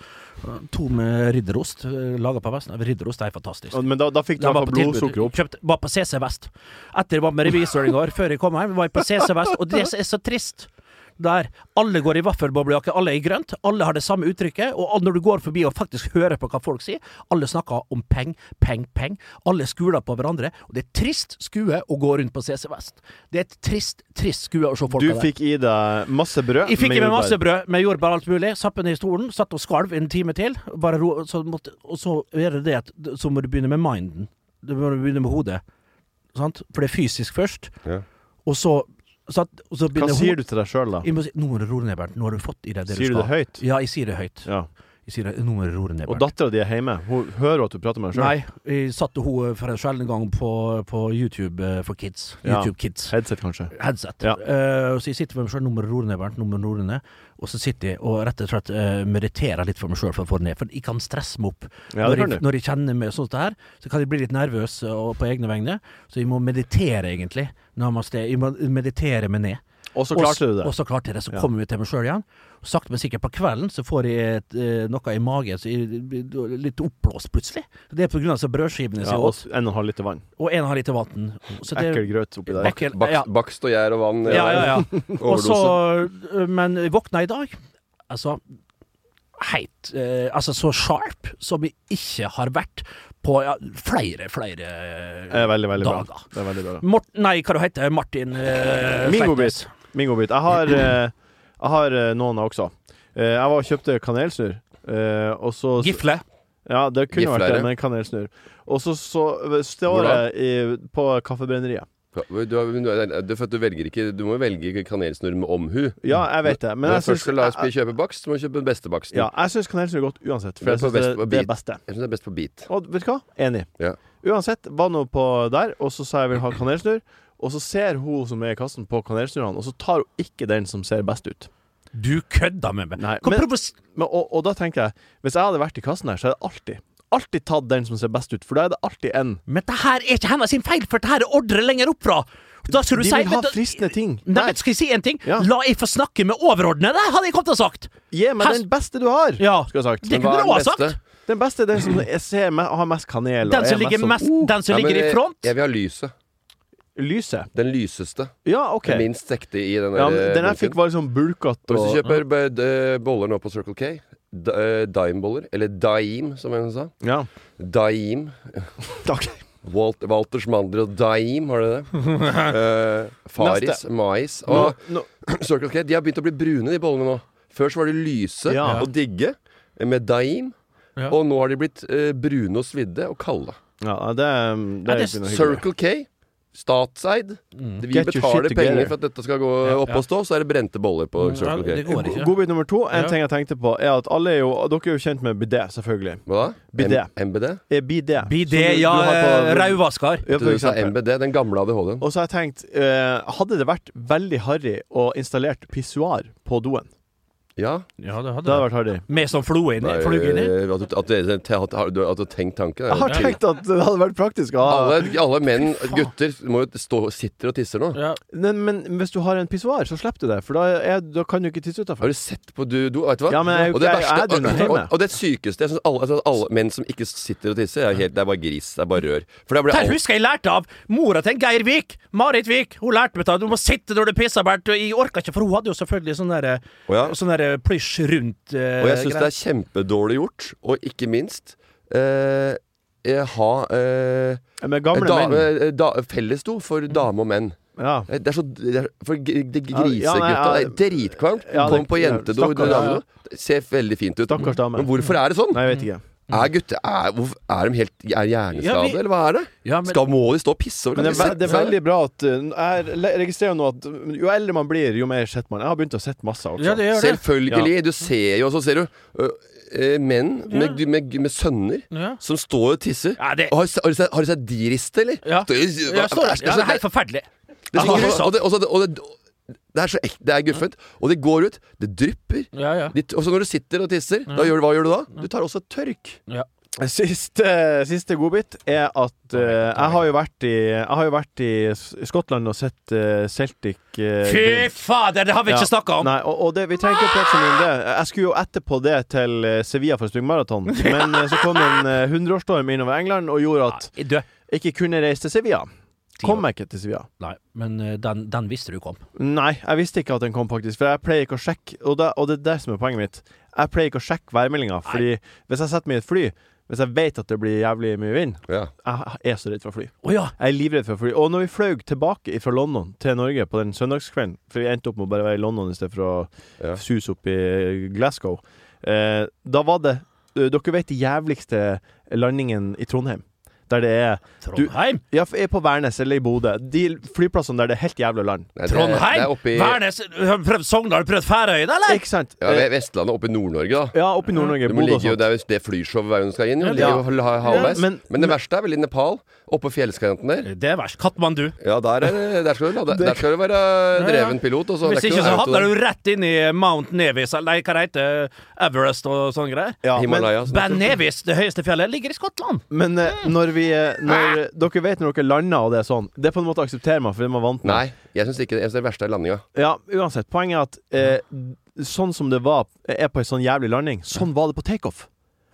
Speaker 6: To med ridderost, laga på Vestnes. Ridderost er fantastisk.
Speaker 2: Og- Men da, da fikk du
Speaker 6: Den var
Speaker 2: iallfall
Speaker 6: på tilbud.
Speaker 2: blodsukkeret opp.
Speaker 6: Kjøpt, var på CC Vest. Etter jeg var med revisor i går, før jeg kom hjem, var jeg på CC Vest, og det er så trist. Der alle går i vaffelboblejakke, alle er i grønt, alle har det samme uttrykket, og all- når du går forbi og faktisk hører på hva folk sier, alle snakker om peng, peng, peng. Alle skuler på hverandre, og det er trist skue å gå rundt på CC Vest. Det er et trist, trist skue å se folk
Speaker 2: Du
Speaker 6: der.
Speaker 2: fikk i deg masse brød.
Speaker 6: Jeg fikk i meg masse
Speaker 2: jordbær.
Speaker 6: brød med jordbær og alt mulig. Sapp den i stolen, satt og skalv en time til. Bare ro, så måtte, og så er det det at så må du begynne med minden. Du må begynne med hodet. Sant? For det er fysisk først.
Speaker 5: Ja.
Speaker 6: Og så, satt, og så
Speaker 2: Hva
Speaker 6: begynner
Speaker 2: sier
Speaker 6: hodet-
Speaker 2: du til deg sjøl, da?
Speaker 6: Jeg må si, nå må du roe ned, Bernt. Nå har du fått i deg det
Speaker 2: Sier
Speaker 6: du
Speaker 2: du
Speaker 6: skal.
Speaker 2: det høyt?
Speaker 6: Ja, jeg sier det høyt.
Speaker 2: Ja.
Speaker 6: Jeg sier det, nå må du roe ned,
Speaker 2: Og
Speaker 6: Bernt.
Speaker 2: dattera di er hjemme. Hun hører at du prater med deg sjøl.
Speaker 6: Nei, jeg satte henne for en sjelden gang på, på YouTube eh, for kids.
Speaker 2: Ja.
Speaker 6: YouTube Kids.
Speaker 2: Headset, kanskje.
Speaker 6: headset.
Speaker 2: Ja.
Speaker 6: Eh, og så jeg sitter for meg sjøl, nummer roer ned, Bernt, nummer roer ned. Og så sitter jeg og rett og slett eh, mediterer litt for meg sjøl for å få det ned. For jeg kan stresse meg opp.
Speaker 2: Ja, det
Speaker 6: når, jeg,
Speaker 2: kan du.
Speaker 6: når jeg kjenner meg sånn som det her, så kan jeg bli litt nervøs eh, og på egne vegne. Så jeg må meditere, egentlig. Namaste. Jeg må meditere meg ned.
Speaker 2: Å Og så klarte du det.
Speaker 6: Og så klarte jeg det. Så
Speaker 2: Ja.
Speaker 6: kom jeg til meg sjøl igjen. Og sakte, men sikkert på kvelden så får jeg et, eh, noe i magen, så jeg blir litt oppblåst plutselig. Det er på grunn av disse brødskivene
Speaker 2: Ja,
Speaker 6: jeg
Speaker 2: og
Speaker 6: åt,
Speaker 2: en og en halv liter vann.
Speaker 6: og en halv liter vann. Så det-
Speaker 2: Ekkel grøt oppi der.
Speaker 6: Ekkel,
Speaker 5: Bakst,
Speaker 6: ja.
Speaker 5: bakst og gjær og vann. eh,
Speaker 6: Ja, ja, ja. Og
Speaker 5: Overdose.
Speaker 6: så, øh, men jeg våkna i dag, altså Heit. Eh, altså så sharp som jeg ikke har vært på ja, flere, flere
Speaker 2: Det er veldig, veldig bra.
Speaker 6: dager.
Speaker 2: Det er veldig bra.
Speaker 6: Morten, nei, hva du heter du? Martin eh,
Speaker 2: Mingobit.
Speaker 6: Sleipnes.
Speaker 2: Mingobit. Jeg har, eh, jeg har eh, noen også. Eh, jeg var og kjøpte kanelsnurr. Eh, og så
Speaker 6: Gifle.
Speaker 2: Ja, det kunne vært
Speaker 5: Gifleire.
Speaker 2: det, men kanelsnurr. Og så, så eh, står
Speaker 5: Hvor da?
Speaker 2: jeg i, på Kaffebrenneriet.
Speaker 5: Ja, men Du, har- men du, er- det er for at du velger ikke Du må jo velge kanelsnurr med omhu.
Speaker 2: Ja, jeg vet det, men
Speaker 5: Når
Speaker 2: jeg
Speaker 5: du først
Speaker 2: syns
Speaker 5: skal la oss kjøpe bakst, så må du kjøpe den beste baksten.
Speaker 2: ja, jeg syns kanelsnurr er godt uansett. For
Speaker 5: For
Speaker 2: jeg
Speaker 5: det er
Speaker 2: syns det,
Speaker 5: best-
Speaker 2: det er beste.
Speaker 5: Jeg syns det er best på bit.
Speaker 2: Og vet du hva? Enig.
Speaker 5: Ja.
Speaker 2: Uansett, var nå på der, og så sa jeg vil ha kanelsnurr. Og så ser hun som er i kassen på kanelsnurrene, og så tar hun ikke den som ser best ut.
Speaker 6: Du kødda med meg.
Speaker 2: Nei,
Speaker 6: Hva
Speaker 2: men-
Speaker 6: provos-
Speaker 2: Men, og, og da tenker jeg, hvis jeg hadde vært i kassen her, så hadde jeg alltid Alltid tatt den som ser best ut, for da er det alltid en.
Speaker 6: Men det her er ikke hennes sin feil, for det her er ordre lenger opp fra. Da skal
Speaker 2: De
Speaker 6: du si,
Speaker 2: vil ha
Speaker 6: men da-
Speaker 2: fristende ting.
Speaker 6: Nei,
Speaker 2: Der.
Speaker 6: men skal jeg si en ting?
Speaker 2: Ja.
Speaker 6: La jeg få snakke med overordnede, hadde jeg kommet til å sagt.
Speaker 2: Gi meg
Speaker 6: Her-
Speaker 2: den beste du har!
Speaker 6: Ja.
Speaker 2: Skulle jeg sagt.
Speaker 5: Hva
Speaker 6: Det kunne
Speaker 5: er
Speaker 6: du
Speaker 5: den
Speaker 6: også
Speaker 5: beste?
Speaker 6: sagt.
Speaker 2: Den beste er den som jeg ser me har mest kanel. og
Speaker 6: Den
Speaker 2: er
Speaker 6: som ligger,
Speaker 2: sånn,
Speaker 6: mest,
Speaker 2: oh,
Speaker 6: den som
Speaker 5: Ja, men
Speaker 6: ligger i
Speaker 5: jeg-
Speaker 6: front.
Speaker 5: Jeg vil ha lyset.
Speaker 2: Lyset.
Speaker 5: Den lyseste.
Speaker 2: Ja, OK.
Speaker 5: Den minst sekte i den der
Speaker 2: Ja, men den
Speaker 5: bunken.
Speaker 2: jeg fikk, var litt sånn bulkete.
Speaker 5: Og hvis eh, du
Speaker 2: og-
Speaker 5: kjøper b- d- boller nå på Circle K d- eh, Dime-boller, eller Daim, som en sa.
Speaker 2: Ja.
Speaker 5: Daim.
Speaker 2: Takk.
Speaker 5: Walt, Walters Mandler og Daim, har dere det? Eh, Faris, mais
Speaker 2: Nå,
Speaker 5: og
Speaker 2: nå,
Speaker 5: Circle K. De har begynt å bli brune, de bollene nå. Før så var de lyse
Speaker 2: Ja.
Speaker 5: og digge eh, med Daim.
Speaker 6: Ja.
Speaker 5: Og nå har de blitt eh, brune og svidde og kalde.
Speaker 2: ja, det, det,
Speaker 6: Ja,
Speaker 2: er
Speaker 6: det er
Speaker 2: ikke noe hyggelig.
Speaker 5: Circle K, statseid. Vi
Speaker 6: Mm.
Speaker 2: Get your
Speaker 5: betaler
Speaker 2: shit together. Mm.
Speaker 5: penger for at dette skal gå opp og stå, så er det brente boller på Circle
Speaker 6: det
Speaker 5: K.
Speaker 6: går ikke.
Speaker 2: Godbit nummer to. En
Speaker 6: Ja.
Speaker 2: ting jeg tenkte på, er at alle er jo Dere er jo kjent med bidé, selvfølgelig.
Speaker 5: Hva da?
Speaker 2: Bidé.
Speaker 5: M- MBD?
Speaker 2: Er bidé.
Speaker 6: Bidé,
Speaker 2: Som du- du
Speaker 6: ja, eh,
Speaker 2: har på-
Speaker 6: rauvaskar.
Speaker 2: Ja, for
Speaker 5: Du sa
Speaker 2: eksempel.
Speaker 5: MBD, den gamle ADHD-en.
Speaker 2: Og så har jeg tenkt eh, Hadde det vært veldig harry å installert pissoar på doen?
Speaker 5: Ja.
Speaker 6: Ja, det
Speaker 2: Det hadde vært harry.
Speaker 6: Med sånn flue inni. Flue inni.
Speaker 5: eh, At du at du- at du- at du- at du har tenkt tanken. er jo
Speaker 2: Jeg har
Speaker 5: chill.
Speaker 2: tenkt at det hadde vært praktisk å ha
Speaker 5: alle, alle menn, gutter, må jo stå, sitter og tisser nå.
Speaker 6: Ja.
Speaker 2: men, men hvis du har en pissoar, så slipper du det, for da, er, da kan du ikke tisse
Speaker 5: Har
Speaker 2: utafor.
Speaker 5: du sett på du do? Vet du hva?
Speaker 2: Ja, men jeg er jo
Speaker 5: og det
Speaker 2: ikke- jeg er
Speaker 5: og,
Speaker 2: dunnet hjemme.
Speaker 5: og, og det sykeste Jeg syns alle, jeg synes alle menn som ikke sitter og tisser, er helt, det er bare gris. Det er bare rør. For da blir
Speaker 6: Der
Speaker 5: alt
Speaker 6: husker jeg lærte av mora til en Geir Vik. Marit Vik. Hun lærte meg at du må sitte når du pisser, Bernt. og Jeg orka ikke, for hun hadde jo selvfølgelig sånn derre
Speaker 5: Å ja.
Speaker 6: sånn der plysj rundt eh,
Speaker 5: Og jeg syns det
Speaker 6: greier.
Speaker 5: er kjempedårlig gjort, og ikke minst eh, eh, ha eh,
Speaker 2: Med gamle
Speaker 5: da,
Speaker 2: menn.
Speaker 5: eh, da, fellesdo for dame og menn.
Speaker 2: Ja.
Speaker 5: Eh, Det er så det er, For g- de
Speaker 2: Ja, ja, nei,
Speaker 5: grisegutta
Speaker 2: ja.
Speaker 5: det er Dritkvalmt.
Speaker 2: Ja, det-
Speaker 5: Kom på jentedo.
Speaker 2: stakkars, ja, ja.
Speaker 5: Det ser veldig fint ut.
Speaker 2: Stakkars dame.
Speaker 5: Men hvorfor er det sånn?
Speaker 2: Nei, jeg vet ikke.
Speaker 5: Er gutter er, hvorfor- er de helt er hjerneskade,
Speaker 6: Ja, vi-
Speaker 5: eller hva er det?
Speaker 6: Ja, men-
Speaker 5: Skal, må de stå og pisse over
Speaker 2: Men det er, ve- det er
Speaker 5: Kan de
Speaker 2: veldig bra at eh, Jeg le- registrerer nå at mm, jo eldre man blir, jo mer sitter man. Jeg har begynt å sitte masse altså. også.
Speaker 6: Ja, det
Speaker 5: se-
Speaker 6: gjør det.
Speaker 5: Selvfølgelig. Du ser jo, og så ser du øh, øh, menn med, med, med sønner
Speaker 6: Ja.
Speaker 5: som står og tisser.
Speaker 6: Ja, det-
Speaker 5: Og har, har, du sett, har du sett de riste, eller?
Speaker 6: Ja.
Speaker 5: Står-
Speaker 6: Ja, står der. ja, det er helt forferdelig.
Speaker 5: Det,
Speaker 6: Altså, Ja,
Speaker 5: og, og det, og så- og det, det er så ek, det er guffent. Og det går ut. Det drypper.
Speaker 6: Ja, ja.
Speaker 5: De t- Og så når du sitter og tisser, da gjør, du- hva gjør du da? Du tar også tørk.
Speaker 2: Siste, siste godbit er at eh, jeg, har jo vært i, jeg har jo vært i S- Skottland og sett eh, Celtic eh,
Speaker 6: Fy
Speaker 2: Grim-
Speaker 6: fader, det har vi
Speaker 2: Ja.
Speaker 6: ikke snakka om!
Speaker 2: Nei, og, og det, vi trenger ikke å prate så mye om det. Jeg skulle jo etterpå det til eh, Sevilla for å springe maraton, men eh, så kom en eh, hundreårsstorm innover England og gjorde at
Speaker 6: Du,
Speaker 2: jeg ikke kunne reise til Sevilla. Kom jeg ikke til Sevilla?
Speaker 6: nei, men eh, den, den visste du kom.
Speaker 2: Nei, jeg visste ikke at den kom, faktisk. For jeg pleier ikke å sjekke Og det, og det er det som er poenget mitt. Jeg pleier ikke å sjekke værmeldinga. Fordi hvis jeg setter meg i et fly, hvis jeg vet at det blir jævlig mye vind
Speaker 5: Ja.
Speaker 2: Jeg er så redd for fly.
Speaker 6: Å ja.
Speaker 2: Jeg er livredd for fly. Og når vi fløy tilbake fra London til Norge på den søndagskvelden For vi endte opp med å bare være i London i stedet for å
Speaker 5: Ja.
Speaker 2: suse opp i Glasgow. Eh, da var det eh, Dere vet de jævligste landingen i Trondheim. Der det er
Speaker 6: Trondheim?
Speaker 2: Ja, f- er på Værnes eller i Bodø. De flyplassene der det er helt jævla land.
Speaker 5: Nei, det er- Det er
Speaker 6: Trondheim?
Speaker 5: oppe i
Speaker 6: Værnes? Har du prøvd Sogndal? Har du prøvd Færøyene, eller?
Speaker 2: Ikke sant?
Speaker 5: ja,
Speaker 2: Eh,
Speaker 5: Ve- Vestlandet, oppe i Nord-Norge, da.
Speaker 2: Ja, oppe i Nord-Norge.
Speaker 5: Det, må
Speaker 2: Bodø og sånn.
Speaker 5: ligge, jo-
Speaker 2: sånt.
Speaker 5: det er jo det flyshowet hver gang du skal inn. Jo,
Speaker 2: Ja.
Speaker 5: ligger jo hal- halvveis.
Speaker 2: Ja, men-
Speaker 5: men, det verste er vel i Nepal. Oppe på fjellskanten der.
Speaker 6: Det er verst. Katmandu.
Speaker 5: Ja, der, er, det- der, skal du, lade- der skal du være dreven pilot. Og så,
Speaker 6: Hvis
Speaker 5: det er
Speaker 6: ikke,
Speaker 5: noe
Speaker 6: så
Speaker 5: auto
Speaker 6: havner
Speaker 5: der.
Speaker 6: du rett inn i Mount Nevis, eller nei, hva det heter Everest og sånne greier.
Speaker 2: Ja, men
Speaker 5: Himalaya. sånn.
Speaker 6: Ben Nevis, det høyeste fjellet, ligger i Skottland.
Speaker 2: men eh, når vi eh, når, Dere vet når dere lander og det er sånn. Det på en måte aksepterer man fordi man er vant med det.
Speaker 5: Nei, jeg syns ikke det. Jeg synes det verste er landinga.
Speaker 2: Ja, uansett. Poenget er at eh, sånn som det var er på en sånn jævlig landing, sånn var det på takeoff.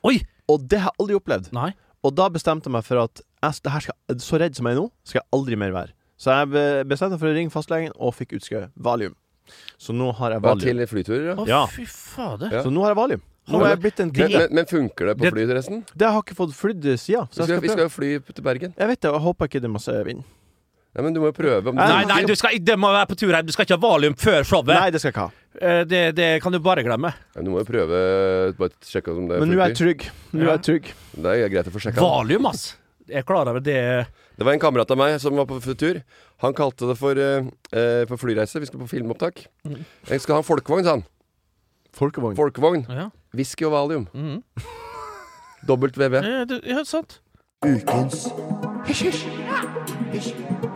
Speaker 6: Oi!
Speaker 2: Og det har jeg aldri opplevd.
Speaker 6: Nei.
Speaker 2: Og da bestemte jeg meg for at jeg, det her skal, så redd som jeg er nå, skal jeg aldri mer være. Så jeg be- bestemte meg for å ringe fastlegen og fikk utskrevet valium. Så nå har jeg
Speaker 5: Ja,
Speaker 2: valium.
Speaker 5: til flyturer, ja.
Speaker 6: Å,
Speaker 2: Ja.
Speaker 6: fy fader.
Speaker 5: Ja.
Speaker 2: Så nå har jeg valium. Nå er jeg blitt en
Speaker 5: Men,
Speaker 2: kvinne.
Speaker 5: men, men funker det på
Speaker 6: Det-
Speaker 5: fly, resten?
Speaker 2: Det har jeg ikke fått flydd sida.
Speaker 5: Vi
Speaker 2: Så
Speaker 5: skal,
Speaker 2: jeg
Speaker 5: vi
Speaker 2: skal
Speaker 5: skal
Speaker 2: prøve.
Speaker 5: jo fly til Bergen.
Speaker 2: Jeg vet det, og jeg håper ikke det er masse vind.
Speaker 5: Nei, men du må jo prøve. Om
Speaker 6: Nei, nei, du skal, det må være på tur her. Du skal ikke ha valium før
Speaker 2: Nei,
Speaker 6: showet.
Speaker 2: det skal jeg ikke ha.
Speaker 6: Eh, Det, det kan du bare glemme.
Speaker 5: Nei, men du må jo prøve Bare sjekke om det
Speaker 2: Men nå er jeg
Speaker 5: funker.
Speaker 2: trygg. Nå er jeg trygg.
Speaker 5: Det er greit å få sjekka.
Speaker 6: Valium, ass. Jeg er klar over det.
Speaker 5: Det var en kamerat av meg som var på tur. Han kalte det for eh, eh, på flyreise. Vi skulle på filmopptak.
Speaker 2: Mm.
Speaker 5: Jeg skal ha en folkevogn, sa han.
Speaker 2: Folkevogn.
Speaker 5: Folkevogn.
Speaker 6: Ja,
Speaker 5: Whisky og valium.
Speaker 2: Mm.
Speaker 5: Dobbelt WW.
Speaker 6: Eh, du- ja sant.
Speaker 3: Ukens Hysj, hysj. Hysj.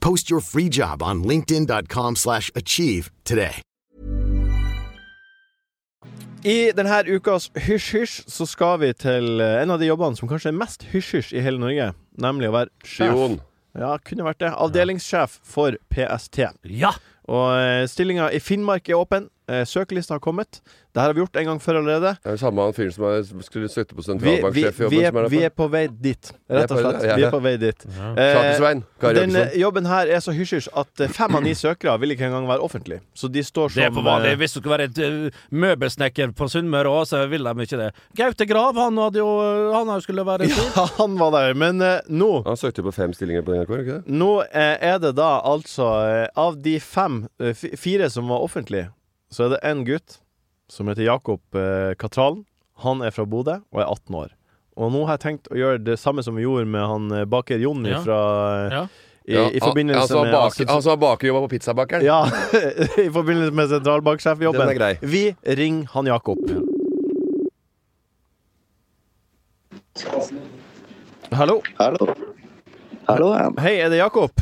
Speaker 4: Post your free job on linkedin.com/achieve slash achieve today.
Speaker 2: I denne ukas hysj-hysj så skal vi til eh, en av de jobbene som kanskje er mest hysj-hysj i hele Norge. Nemlig å være sjef.
Speaker 5: Spion.
Speaker 2: Ja, kunne vært det. Avdelingssjef for PST.
Speaker 6: Ja.
Speaker 2: Og eh, stillinga i Finnmark er åpen. Eh, Søkelista har kommet. Det her har vi gjort en gang før allerede.
Speaker 5: Det er jo samme han fyren som er, skulle søkte på
Speaker 2: Vi, vi,
Speaker 5: sentralbanksjef.
Speaker 2: vi, er, vi er på vei dit, rett og
Speaker 5: Vi er på-
Speaker 2: slett.
Speaker 5: ja, ja.
Speaker 2: Vi er på vei dit. Eh,
Speaker 5: Sakesvein. Kari
Speaker 2: den
Speaker 5: Jakkesson.
Speaker 2: eh, jobben her er så hysj-hysj at eh, fem av ni søkere vil ikke engang være offentlig. Så de står som
Speaker 6: Det er for vanlig.
Speaker 2: eh,
Speaker 6: Hvis du skulle være et eh, møbelsnekker på Sunnmøre òg, så vil de ikke det. Gaute Grav, han hadde jo eh, Han skulle være
Speaker 2: Ja, han var der. Men eh, nå
Speaker 5: Han søkte jo på fem stillinger på NRK, ikke det?
Speaker 2: Nå eh, er det da altså eh, Av de fem, eh, fi- fire som var offentlige, så er det én gutt som heter Jakob eh, Katralen. Han er fra Bodø og er 18 år. Og nå har jeg tenkt å gjøre det samme som vi gjorde med han eh, baker Jonny
Speaker 6: Ja.
Speaker 2: fra eh,
Speaker 6: Ja.
Speaker 2: I, i forbindelse
Speaker 5: altså,
Speaker 2: med
Speaker 5: bak, Altså bakerjobba på pizzabakeren.
Speaker 2: Ja, i forbindelse med sentralbanksjefjobben.
Speaker 5: Den er grei.
Speaker 2: Vi ringer han Jakob. Hallo.
Speaker 8: Hallo. Hallo, ja.
Speaker 2: Hei, er det Jakob?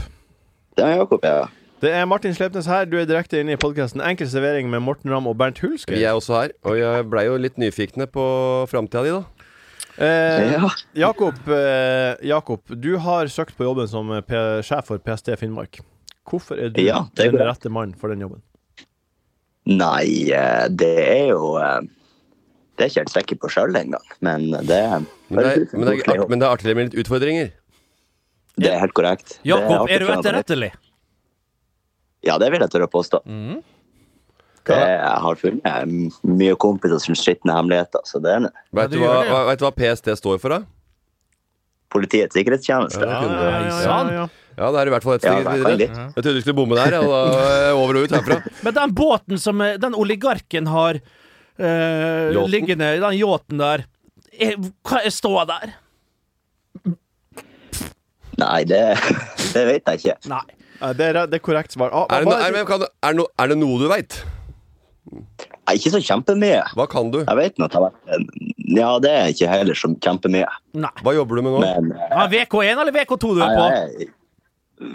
Speaker 8: Det er Jakob, ja.
Speaker 2: Det er Martin Slepnes her. Du er direkte inne i podkasten Enkel servering med Morten Ramm og Bernt Hulsker.
Speaker 5: Vi er også her, og jeg blei jo litt nyfikne på framtida di, da.
Speaker 2: Eh,
Speaker 8: Ja.
Speaker 2: Jakob, eh, Jakob, du har søkt på jobben som eh, P sjef for PST Finnmark. Hvorfor er du
Speaker 8: Ja, det er
Speaker 2: den
Speaker 8: korrekt.
Speaker 2: rette mannen for den jobben?
Speaker 8: Nei, eh, det er jo eh, Det er ikke helt sikker på sjøl engang, men det
Speaker 5: Men det, er, men, det er, art- men det er artigere med litt utfordringer.
Speaker 8: Det er helt korrekt. Det
Speaker 6: Jakob,
Speaker 8: artig
Speaker 6: er du
Speaker 8: for meg, men-
Speaker 6: etterrettelig?
Speaker 8: Ja, det vil jeg tørre å påstå. Det, jeg har funnet m- mye kompiser som sitter med hemmeligheter, så det er en-
Speaker 5: Veit
Speaker 6: det
Speaker 5: du,
Speaker 6: gjør
Speaker 5: hva-
Speaker 6: det,
Speaker 5: hva-
Speaker 6: ja.
Speaker 5: vet du hva PST står for, da?
Speaker 8: Politiets sikkerhetstjeneste.
Speaker 5: Ja, det,
Speaker 2: Ja,
Speaker 5: kunne du.
Speaker 2: ja,
Speaker 5: ja.
Speaker 2: ja, ja.
Speaker 5: ja, det er i hvert fall et
Speaker 8: Ja,
Speaker 5: steg
Speaker 8: i hvert fall
Speaker 5: videre.
Speaker 8: litt.
Speaker 5: Jeg trodde du skulle bomme der, og da eh, over og ut herfra.
Speaker 6: Men den båten som eh, den oligarken har eh,
Speaker 5: Yachten?
Speaker 6: liggende, den yachten der er, Hva er ståa der?
Speaker 8: Nei, det, det vet jeg ikke.
Speaker 6: Nei.
Speaker 2: Eh, Det, er, det er korrekt svar. Ah,
Speaker 5: Er det, no,
Speaker 2: hva
Speaker 5: er,
Speaker 2: er
Speaker 5: men kan, du- er, det no, er det noe du veit?
Speaker 8: Nei, Ikke så kjempemye.
Speaker 5: Hva kan du?
Speaker 8: Jeg vet nå at jeg har vært en- Ja, det er ikke heller så kjempemye,
Speaker 6: Nei.
Speaker 5: Hva jobber du med nå?
Speaker 8: men eh,
Speaker 6: Ja, VK1 eller VK2 du er på?
Speaker 8: Nei, nei,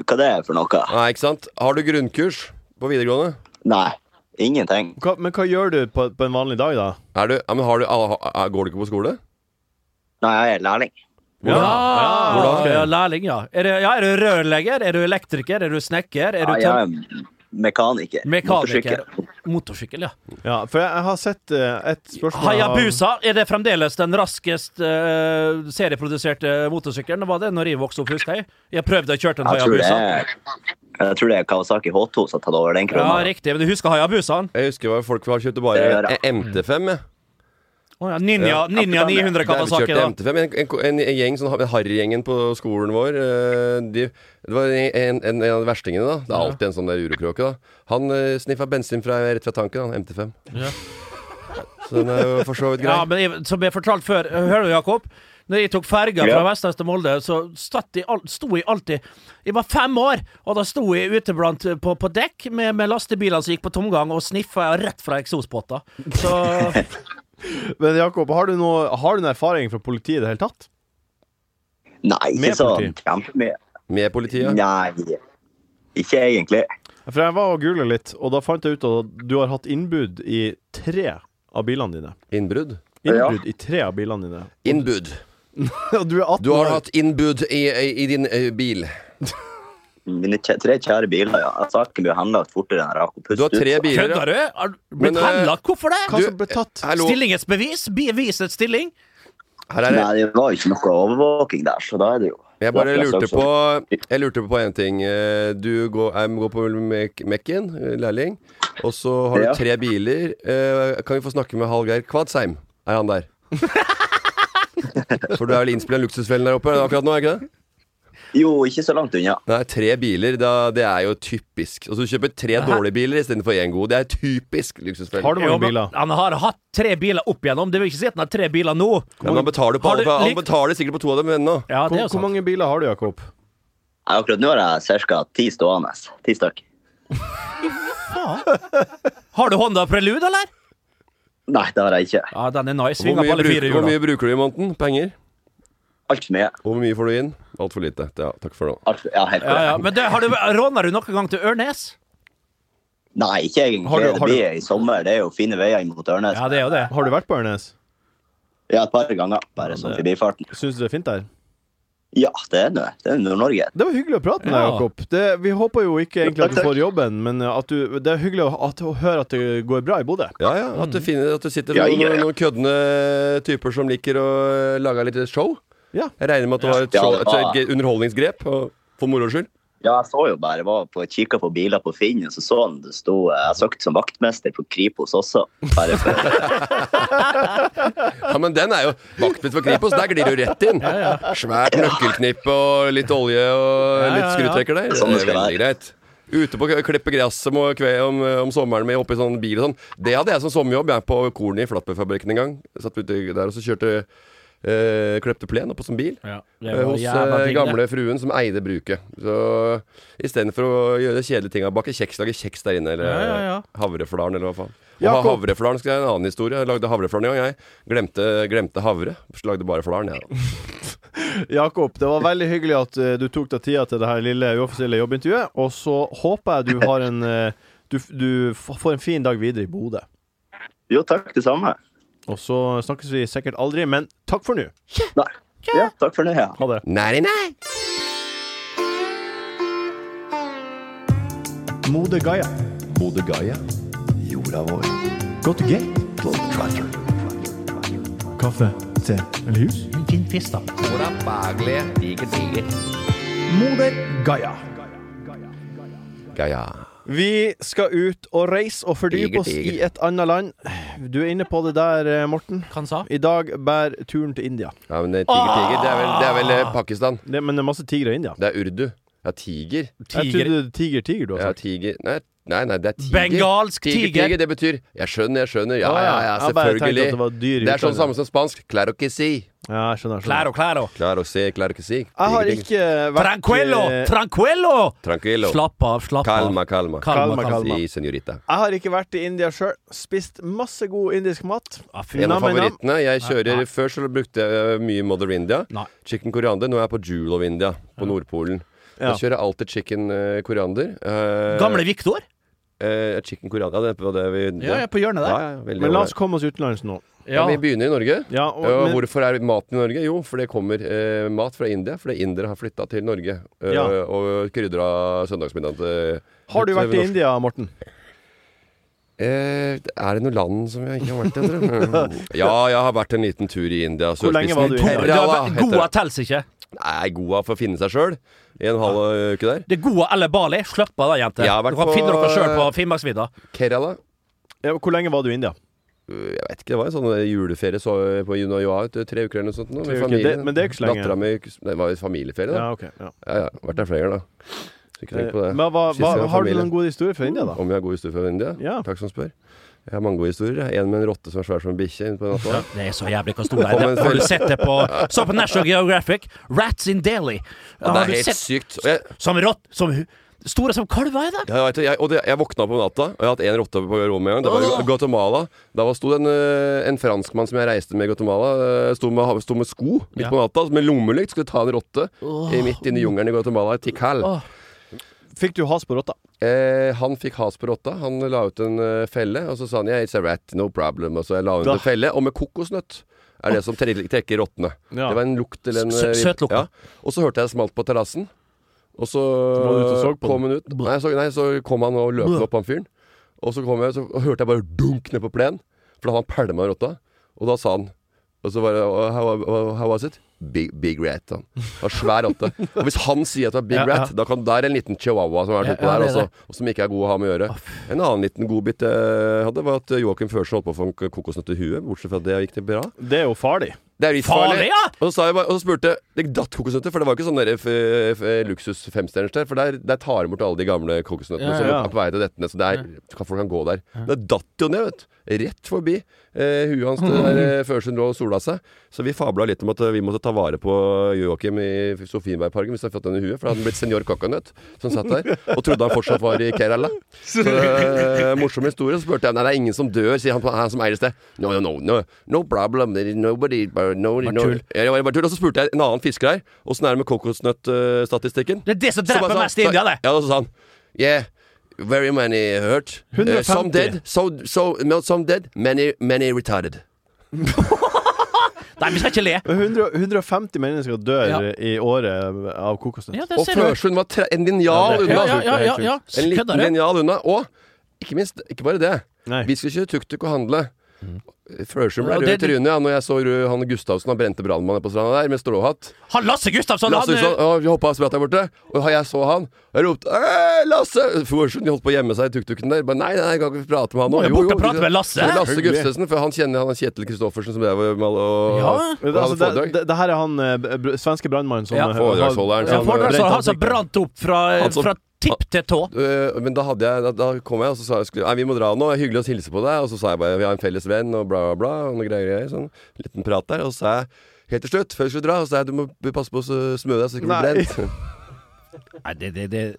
Speaker 8: Hva det er for noe?
Speaker 5: Nei, ikke sant? Har du grunnkurs på videregående?
Speaker 8: Nei, ingenting.
Speaker 2: hva, men hva gjør du på, på en vanlig dag, da?
Speaker 5: Er du, ja, men har du, ah, ah, går du ikke på skole?
Speaker 8: Nei, jeg er lærling.
Speaker 6: Ja, ja,
Speaker 5: Hvordan?
Speaker 6: ja, lærling, ja. Er du, ja. Er du rørlegger? Er du elektriker? Er du snekker? Er
Speaker 8: Ja,
Speaker 6: du
Speaker 8: jeg er
Speaker 6: tøm...
Speaker 8: mekaniker.
Speaker 6: Mekaniker.
Speaker 8: Motorsykker.
Speaker 6: Motorsykkel, ja.
Speaker 2: Ja, for jeg har sett eh, et spørsmål
Speaker 6: Hayabusa, er det fremdeles den raskest eh, serieproduserte motorsykkelen? Var det når jeg vokste opp, husker jeg? Jeg prøvde å kjøre en
Speaker 8: Jeg tror det
Speaker 6: Hayabusa.
Speaker 8: er, jeg tror det er Kawasaki H2 som har tatt over den
Speaker 6: Ja,
Speaker 8: krona.
Speaker 6: riktig. Men du husker Hayabusaen?
Speaker 5: Jeg husker hva folk har kjøpt
Speaker 8: Det gjør
Speaker 5: bare
Speaker 8: jeg.
Speaker 5: MT5. jeg.
Speaker 6: Å ja, Ninja,
Speaker 5: Ja,
Speaker 6: Ninja 900
Speaker 5: Der vi
Speaker 6: Kawasaki,
Speaker 5: kjørte
Speaker 6: da.
Speaker 5: MT5 En, en, en, en gjeng, sånn harrygjengen på skolen vår eh, de, Det var en, en, en av verstingene da Det er alltid en sånn der urokråke da Han eh, sniffa bensin fra, rett fra tanken, han MT5 Så den er jo for så vidt grei
Speaker 6: Ja, men jeg, som jeg fortalte før, hører du Jakob? Når jeg tok ferga fra
Speaker 8: Ja.
Speaker 6: Vestnes til Molde, så satt jeg, al- sto jeg alltid Jeg var fem år, og da sto jeg ute blant, på, på dekk med, med lastebiler som gikk på tomgang, og sniffa rett fra eksospotta. Så
Speaker 2: Men Jakob, har du, noe, har du noe erfaring fra politiet i det hele tatt?
Speaker 8: Nei,
Speaker 2: Med
Speaker 8: ikke sånn
Speaker 2: politi.
Speaker 8: kjempemye.
Speaker 5: Med politiet
Speaker 8: Nei, ikke egentlig.
Speaker 2: For jeg var og googla litt, og da fant jeg ut at du har hatt innbud i tre av bilene dine.
Speaker 5: Innbrudd
Speaker 2: Innbrudd i tre av bilene dine.
Speaker 5: Innbud
Speaker 2: Og du er 18
Speaker 5: Du har
Speaker 2: år.
Speaker 5: hatt innbud i, i, i din eh, bil
Speaker 8: Mine kjæ- tre kjære biler, ja. Saken blir henlagt fortere enn jeg rakk å puste
Speaker 5: Du har tre
Speaker 8: ut.
Speaker 5: biler ja.
Speaker 6: kødder du? Har du
Speaker 5: Men,
Speaker 6: Blitt
Speaker 5: eh,
Speaker 6: henlagt? Hvorfor
Speaker 2: Hva
Speaker 6: det?
Speaker 5: Du-
Speaker 2: som ble tatt?
Speaker 5: Hallo,
Speaker 6: Stillingens bevis? Bevisets stilling?
Speaker 5: her er det
Speaker 8: Nei, det var jo ikke noe overvåking der, så da er det jo
Speaker 5: Jeg bare
Speaker 8: Derfor
Speaker 5: lurte
Speaker 8: jeg sa
Speaker 5: på
Speaker 8: også.
Speaker 5: Jeg lurte på en ting. Eh, Du går, em, går på Mek- Mekken, eh, lærling, og så har
Speaker 8: Ja.
Speaker 5: du tre biler. Eh, Kan vi få snakke med Hallgeir Kvadsheim? Er han der? For du er vel innspilt av luksusfellen der oppe akkurat nå? er ikke det?
Speaker 8: Jo, ikke så langt unna.
Speaker 5: Nei, tre biler, da, det er jo typisk. Altså, du kjøper tre dårlige biler istedenfor én god. Det er typisk luksusfellen.
Speaker 2: Har du
Speaker 6: Jo,
Speaker 2: mange
Speaker 6: men
Speaker 2: biler?
Speaker 6: Han har hatt tre biler opp igjennom. Det vil ikke si at han har tre biler nå.
Speaker 5: Men han betaler, på
Speaker 6: Har du
Speaker 5: alle, han
Speaker 6: lik-
Speaker 5: betaler sikkert på to av dem ennå.
Speaker 6: Ja,
Speaker 2: Hvor,
Speaker 6: det er jo
Speaker 2: hvor
Speaker 6: sant.
Speaker 2: mange biler har du, Jakob?
Speaker 8: Nei, Akkurat nå har jeg ca. ti stående. Ti stykk.
Speaker 6: Har du Honda Prelude, eller?
Speaker 8: Nei, det har jeg ikke.
Speaker 6: Ja, den er
Speaker 5: Hvor,
Speaker 6: nice. Svinger på
Speaker 5: mye
Speaker 6: alle
Speaker 5: bruk-
Speaker 6: fire
Speaker 5: hvor
Speaker 6: hjula.
Speaker 5: mye bruker du i måneden? Penger?
Speaker 8: Altfor mye.
Speaker 5: Og hvor mye får du inn? Altfor lite. Ja, takk for nå.
Speaker 8: Alt, ja, helt
Speaker 6: Ja, ja.
Speaker 8: korrekt.
Speaker 6: Men det, har du, råner du noen gang til Ørnes?
Speaker 8: Nei, ikke egentlig.
Speaker 2: Har du- har du-
Speaker 8: Det blir i sommer. Det er jo fine veier inn mot Ørnes.
Speaker 6: Ja, det er jo det.
Speaker 2: Har du vært på Ørnes?
Speaker 8: Ja, et par ganger. Bare sånn forbifarten.
Speaker 2: Syns du det er fint der?
Speaker 8: Ja, det er nå det. er Nord-Norge.
Speaker 2: Det var hyggelig å prate med deg,
Speaker 6: Ja.
Speaker 2: Jakob. Det, vi håper jo ikke egentlig at du
Speaker 8: takk.
Speaker 2: får jobben, men at du, det er hyggelig å, at, å høre at det går bra i Bodø.
Speaker 5: Ja, ja, at du, finner, at du sitter
Speaker 8: Ja,
Speaker 5: med
Speaker 8: ja,
Speaker 5: noen,
Speaker 8: ja.
Speaker 5: noen køddende typer som liker å eh, lage litt show.
Speaker 2: Ja.
Speaker 5: Jeg regner med at det var et,
Speaker 8: Ja,
Speaker 5: show,
Speaker 8: det
Speaker 5: et,
Speaker 8: var-
Speaker 5: et underholdningsgrep og, for moro skyld.
Speaker 8: Ja, jeg så jo bare, jeg var på, kikka på biler på Finn, og så så han det sto eh, Jeg søkte som vaktmester på Kripos også. Bare for,
Speaker 5: Ja, men den er jo vaktbitt for Kripos. Der glir du rett inn. Svært nøkkelknippe og litt olje og
Speaker 6: Ja,
Speaker 5: litt
Speaker 6: ja, ja.
Speaker 5: skrutrekker der.
Speaker 8: Sånn det
Speaker 5: Det er
Speaker 8: skal
Speaker 5: veldig greit. Ute på å klippe gresset om, kve, om, om sommeren med oppi sånn bil og sånn. Det hadde jeg som sommerjobb. Jeg på kornet i Flatbøfabrikken en gang. Satt ute der og så kjørte eh, Kløpte plen oppå som bil.
Speaker 6: Det
Speaker 5: Eh,
Speaker 6: var
Speaker 5: Hos
Speaker 6: jævla
Speaker 5: eh,
Speaker 6: digg, det.
Speaker 5: gamle fruen som eide bruket. Så istedenfor å gjøre kjedelige ting, bake kjeks, lage kjeks der inne, eller
Speaker 6: Ja, ja, ja.
Speaker 5: havreflaren, eller hva faen. Og ha
Speaker 2: Jakob.
Speaker 5: havreflaren skal jeg ha en annen historie. Jeg lagde havreflaren en gang, jeg. Glemte, glemte havre. Så lagde bare flaren, jeg. da.
Speaker 2: Jakob, det var veldig hyggelig at eh, du tok deg tida til det her lille uoffisielle jobbintervjuet, og så håper jeg du har en eh, du, du f- får en fin dag videre i Bodø.
Speaker 8: jo, takk, det samme.
Speaker 2: Og så snakkes vi sikkert aldri, men takk for nå.
Speaker 8: Nei. Ja, takk for nå, ja.
Speaker 2: Ha det.
Speaker 5: Nei, nei!
Speaker 2: Mode Gaia.
Speaker 3: Bodø Gaia, jorda vår. Go to gate, go to tratter.
Speaker 2: Kaffe, te eller hus?
Speaker 3: Moder Gaia.
Speaker 5: Gaia.
Speaker 2: Vi skal ut og reise og fordype
Speaker 5: Diger,
Speaker 2: oss i
Speaker 5: diger.
Speaker 2: et annet land. Du er inne på det der, eh, Morten.
Speaker 6: Hva han sa?
Speaker 2: I dag bærer turen til India.
Speaker 5: Ja, men eh, tiger, tiger. Det er vel, det er vel eh, Pakistan.
Speaker 2: Det, men det er masse tigre i India.
Speaker 5: Det er urdu. Ja, tiger.
Speaker 2: Jeg
Speaker 6: Tiger.
Speaker 2: trodde tiger, tiger du har
Speaker 5: Ja,
Speaker 2: sagt.
Speaker 5: tiger. Nei, nei, nei, det er tiger.
Speaker 6: Bengalsk
Speaker 5: tiger.
Speaker 6: tiger.
Speaker 5: Tiger, det betyr 'jeg skjønner, jeg skjønner'. Ja,
Speaker 2: Å,
Speaker 5: ja, ja,
Speaker 2: Jeg bare tenkte
Speaker 5: selvfølgelig.
Speaker 2: at det var dyr i
Speaker 5: Det er sånn
Speaker 2: utlandet.
Speaker 5: samme som spansk. Claro que si.
Speaker 2: Ja, jeg skjønner. jeg skjønner.
Speaker 6: Klær og klær og
Speaker 5: Claro si, claro que si.
Speaker 2: Jeg har
Speaker 5: Tiger, tiger.
Speaker 2: Ah, ikke vært
Speaker 6: Tranquillo!
Speaker 2: eh,
Speaker 6: Tranquillo!
Speaker 5: Tranquillo.
Speaker 6: Slapp av, slapp av.
Speaker 5: Kalma, kalma.
Speaker 6: Kalma,
Speaker 2: Kalma,
Speaker 6: kalma.
Speaker 2: kalma.
Speaker 5: Si, senorita.
Speaker 2: Jeg har ikke vært i India sjøl. Spist masse god indisk mat.
Speaker 6: Ja, Ah, fy.
Speaker 5: En av
Speaker 2: Nam, nam.
Speaker 5: favorittene. Jeg kjører Før så brukte jeg øh, mye Mother India.
Speaker 6: Nei.
Speaker 5: Chicken koriander. Nå er jeg på Jewel of India, på Nordpolen.
Speaker 2: Ja.
Speaker 5: Jeg kjører jeg alltid chicken øh, koriander. Eh,
Speaker 6: Gamle Viktor?
Speaker 5: eh, chicken koriander. Ja, det var det vi
Speaker 6: Ja, jeg er på
Speaker 5: ja,
Speaker 6: hjørnet der.
Speaker 5: ja, veldig
Speaker 2: Men la oss
Speaker 5: ålreit.
Speaker 2: komme oss utenlands nå.
Speaker 5: ja. Vi begynner i Norge.
Speaker 2: Ja, og,
Speaker 5: og
Speaker 2: men,
Speaker 5: hvorfor er maten i Norge? Jo, for det kommer eh, mat fra India. Fordi indere har flytta til Norge eh,
Speaker 2: Ja.
Speaker 5: og krydra søndagsmiddagen til
Speaker 2: har du vært i India, Morten?
Speaker 5: Eh, er det noe land som jeg ikke har vært i, tror du? Ja, jeg har vært en liten tur i India.
Speaker 2: Hvor lenge var du i India?
Speaker 5: Kerala,
Speaker 6: Du er-
Speaker 5: heter
Speaker 6: Goa
Speaker 5: det.
Speaker 6: tels ikke.
Speaker 5: Nei, Goa for å finne seg sjøl. I en halv uke der.
Speaker 6: Det er Goa eller Bali. Slapp av da, jenter.
Speaker 5: Jeg har vært
Speaker 6: Du kan
Speaker 5: på- eh,
Speaker 6: finne dere sjøl på Finnmarksvidda.
Speaker 5: Kerala.
Speaker 2: Ja, hvor lenge var du i India?
Speaker 5: Jeg vet ikke, det var en sånn juleferie så eh, på Junajoa, tre uker eller noe sånt. nå,
Speaker 2: Tre
Speaker 5: Med
Speaker 2: uker.
Speaker 5: familien.
Speaker 2: Det- men det er ikke så lenge.
Speaker 5: Dattera mi Det var jo et familieferie, da.
Speaker 2: Ja, ok. Ja.
Speaker 5: Ja, ja. Vært der flere ganger, da. Så ikke tenk på det.
Speaker 2: Men hva,
Speaker 5: Sist
Speaker 2: hva,
Speaker 5: jeg var
Speaker 2: har du
Speaker 5: familie.
Speaker 2: noen gode historier fra India, da?
Speaker 5: Om jeg har god historie fra India?
Speaker 2: Ja.
Speaker 5: Takk som spør. Jeg har mange gode historier. En med en rotte som er svær som en bikkje. inn på natta.
Speaker 6: Det er så jævlig hvor stor det
Speaker 5: Kom
Speaker 6: er.
Speaker 5: en
Speaker 6: Det Har du
Speaker 5: følelse.
Speaker 6: sett det på Så på National Geographic. Rats in
Speaker 5: Ja,
Speaker 6: Delhi.
Speaker 5: det
Speaker 6: Har
Speaker 5: er
Speaker 6: du
Speaker 5: helt
Speaker 6: sett
Speaker 5: sykt. Og jeg,
Speaker 6: som rått Som hu- store som kalver i dag?
Speaker 5: Ja, jeg, vet det. jeg, og det, jeg våkna opp om natta, og jeg har hatt én rotte på rommet en gang. Det var i Guatemala. Da var, sto det en, eh, en franskmann som jeg reiste med i Guatemala, eh, sto med, sto med sko midt
Speaker 6: Ja.
Speaker 5: på natta, med lommelykt, skulle ta en rotte i- midt inne i jungelen i Guatemala. i Tikal.
Speaker 6: Åh.
Speaker 2: Fikk du has på rotta?
Speaker 5: Eh, han fikk has på rotta. Han la ut en eh, felle, og så sa han yeah, 'it's a rat, no problem'. Og så jeg la ut
Speaker 2: Da.
Speaker 5: en felle, og med kokosnøtt. Er det som tre- trekker rottene.
Speaker 2: Ja.
Speaker 5: Det var en lukt eller en
Speaker 6: Sø- sø- søt lukt, da.
Speaker 5: Ja. Og så hørte jeg det smalt på terrassen. Og så
Speaker 2: var du ute og så på
Speaker 5: kom hun ut. Nei så, nei, så kom han og løp opp, han fyren. Og så kom jeg, så hørte jeg bare dunk ned på plenen, for da hadde han pælma rotta. Og da sa han og så var det «Oh, how, how, how was it? Big, big rat. Han. Det var svær rotte. Og hvis han sier at det var big
Speaker 6: Ja, ja.
Speaker 5: rat, da kan der en liten chihuahua som har vært
Speaker 6: Ja,
Speaker 5: oppå
Speaker 6: ja,
Speaker 5: der
Speaker 6: det er
Speaker 5: også, og som ikke er god å ha med å gjøre. En annen liten godbit jeg hadde, var at Joakim Førsen holdt på å få en k- kokosnøtt i huet. Bortsett fra det gikk det bra.
Speaker 2: Det er jo farlig.
Speaker 5: Det er
Speaker 6: Farlig, ja!
Speaker 5: Og så, sa jeg bare, og så spurte jeg Det datt kokosnøtter, for det var ikke sånn der f, f, luksus femstjerners der. For der, der tar de bort alle de gamle kokosnøttene
Speaker 2: Ja,
Speaker 5: som
Speaker 2: ja.
Speaker 5: er på vei til å dette ned. Så det er, kan- folk kan gå der. Det datt jo ned, vet du. Rett forbi eh, huet hans det der eh, Førsund lå og sola seg. Så vi fabla litt om at eh, vi måtte ta vare på Joakim i Sofienbergparken hvis han fått den i huet. For da hadde han blitt senior coconut som satt der, og trodde han fortsatt var i Kerala. Så eh, morsom historie. Så spurte jeg Nei, det er ingen som dør, sier han, han som eier stedet. No, no, no, no, no problem. There is Nobody but no,
Speaker 6: Bare
Speaker 5: no.
Speaker 6: tull.
Speaker 5: Ja, det var bare tull. Og så spurte jeg en annen fisker her åssen er det med kokosnøttstatistikken.
Speaker 6: Det er det som
Speaker 5: Så bare
Speaker 6: dreper
Speaker 5: sa-
Speaker 6: mest i India, det.
Speaker 5: Ja, og så sa han Yeah, very many hurt. Eh, some
Speaker 2: 150.
Speaker 5: dead, so, so, no, some dead, many, many retarded.
Speaker 6: Nei, vi skal ikke le.
Speaker 2: Men 100, 150 mennesker dør
Speaker 6: Ja.
Speaker 2: i året av kokosnøtt.
Speaker 6: Ja,
Speaker 5: Og
Speaker 6: det ser du.
Speaker 5: Førsund var tre, en linjal
Speaker 2: Ja, det er
Speaker 5: unna.
Speaker 6: Ja, ja, ja, ja.
Speaker 5: En liten
Speaker 6: Kødder du?
Speaker 5: linjal unna. Og ikke minst, ikke bare det.
Speaker 2: Nei.
Speaker 5: Vi skulle kjøre tuk-tuk og handle.
Speaker 6: Mm.
Speaker 5: Førsund ble
Speaker 6: Ja,
Speaker 5: rød i
Speaker 6: det-
Speaker 5: trynet ja, når jeg så rød, han Gustavsen, han brente brannmannen på stranda der med stråhatt.
Speaker 6: Han Lasse Gustavsson,
Speaker 5: Lasse
Speaker 6: han eh,
Speaker 5: Husson øh, hoppa av sprattet der borte, og jeg så han. Jeg ropte 'Hei, Lasse!' Førsund holdt på å gjemme seg i tuk-tuken der. Bare, nei, nei, jeg kan ikke prate med han nå.
Speaker 6: Må jo bort og prate med Lasse.
Speaker 5: Så Lasse
Speaker 2: Hyggelig.
Speaker 5: Gustavsen, for han kjenner han Kjetil Kristoffersen som drev med alle og,
Speaker 6: Ja.
Speaker 5: og,
Speaker 2: Men
Speaker 5: hadde
Speaker 2: Altså, det,
Speaker 5: foredrag.
Speaker 2: det, det her er han eh, br- svenske brannmannen som
Speaker 6: Ja.
Speaker 2: eh,
Speaker 5: Foredragsholderen,
Speaker 2: har-
Speaker 5: ja,
Speaker 2: brent
Speaker 6: Foredragsholder, han som
Speaker 2: ansiktet.
Speaker 6: altså brant opp fra,
Speaker 5: Han som-
Speaker 6: fra tipp til tå.
Speaker 5: Øh, men da, hadde jeg, da, da kom jeg og så sa jeg, skulle- Nei, vi må dra nå. Hyggelig å hilse på deg. Og så sa jeg bare vi har en felles venn og bla, bla, bla. Og noe greier, greier sånn. Liten prat der. Og så sa jeg helt til slutt, før vi skulle dra, og så sa jeg du må passe på å så smøre deg så du ikke blir
Speaker 2: Nei.
Speaker 5: brent.
Speaker 6: Nei, det, det, det.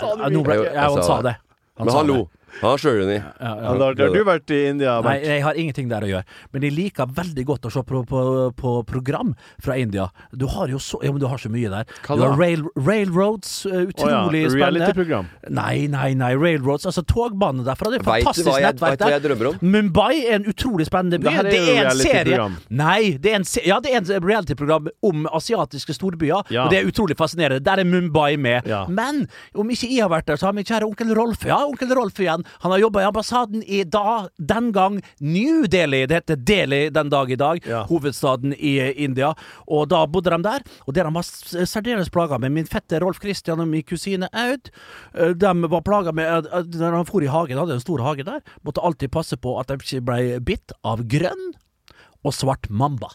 Speaker 2: sa du
Speaker 6: Ja, nå ble-
Speaker 5: ikke.
Speaker 6: Ja, han sa det.
Speaker 5: Men
Speaker 6: sa
Speaker 5: han
Speaker 6: det.
Speaker 5: lo. Han skjønner ni.
Speaker 6: Ja, ja.
Speaker 2: Ja, da, da har du vært i India,
Speaker 6: Nei,
Speaker 2: Bernt.
Speaker 6: jeg har ingenting der å gjøre. Men jeg liker veldig godt å se på, på, på program fra India. Du har jo så, ja, men du har så mye der.
Speaker 2: Hva
Speaker 6: du
Speaker 2: da?
Speaker 6: har rail, railroads, eh,
Speaker 2: Å ja,
Speaker 6: utrolig spennende.
Speaker 2: Reality-program.
Speaker 6: Nei, nei, nei. Railroads, altså togbanen derfra. Det er et
Speaker 5: Vet du
Speaker 6: fantastisk
Speaker 5: hva jeg- vet
Speaker 6: nettverk
Speaker 5: du hva
Speaker 6: der.
Speaker 5: jeg drømmer om?
Speaker 6: Mumbai er en utrolig spennende by.
Speaker 2: Det her er
Speaker 6: en
Speaker 2: jo
Speaker 6: serie
Speaker 2: reality-program.
Speaker 6: Nei, det er en se ja, det er en reality-program om asiatiske storbyer,
Speaker 2: Ja.
Speaker 6: og det er utrolig fascinerende. Der er Mumbai med.
Speaker 2: Ja.
Speaker 6: Men om ikke jeg har vært der, så har min kjære onkel Rolf Ja, onkel Rolf igjen. Han har jobba i ambassaden i da, den gang New Delhi. Det heter Delhi den dag i dag.
Speaker 2: Ja.
Speaker 6: Hovedstaden i eh, India. Og da bodde de der. Og der de var s- eh, særdeles plaga med min fetter Rolf Christian og min kusine Aud. eh, De var plaga med at- at Når han for i hagen, hadde en stor hage der, måtte alltid passe på at de ikke ble bitt av grønn og svart mamba.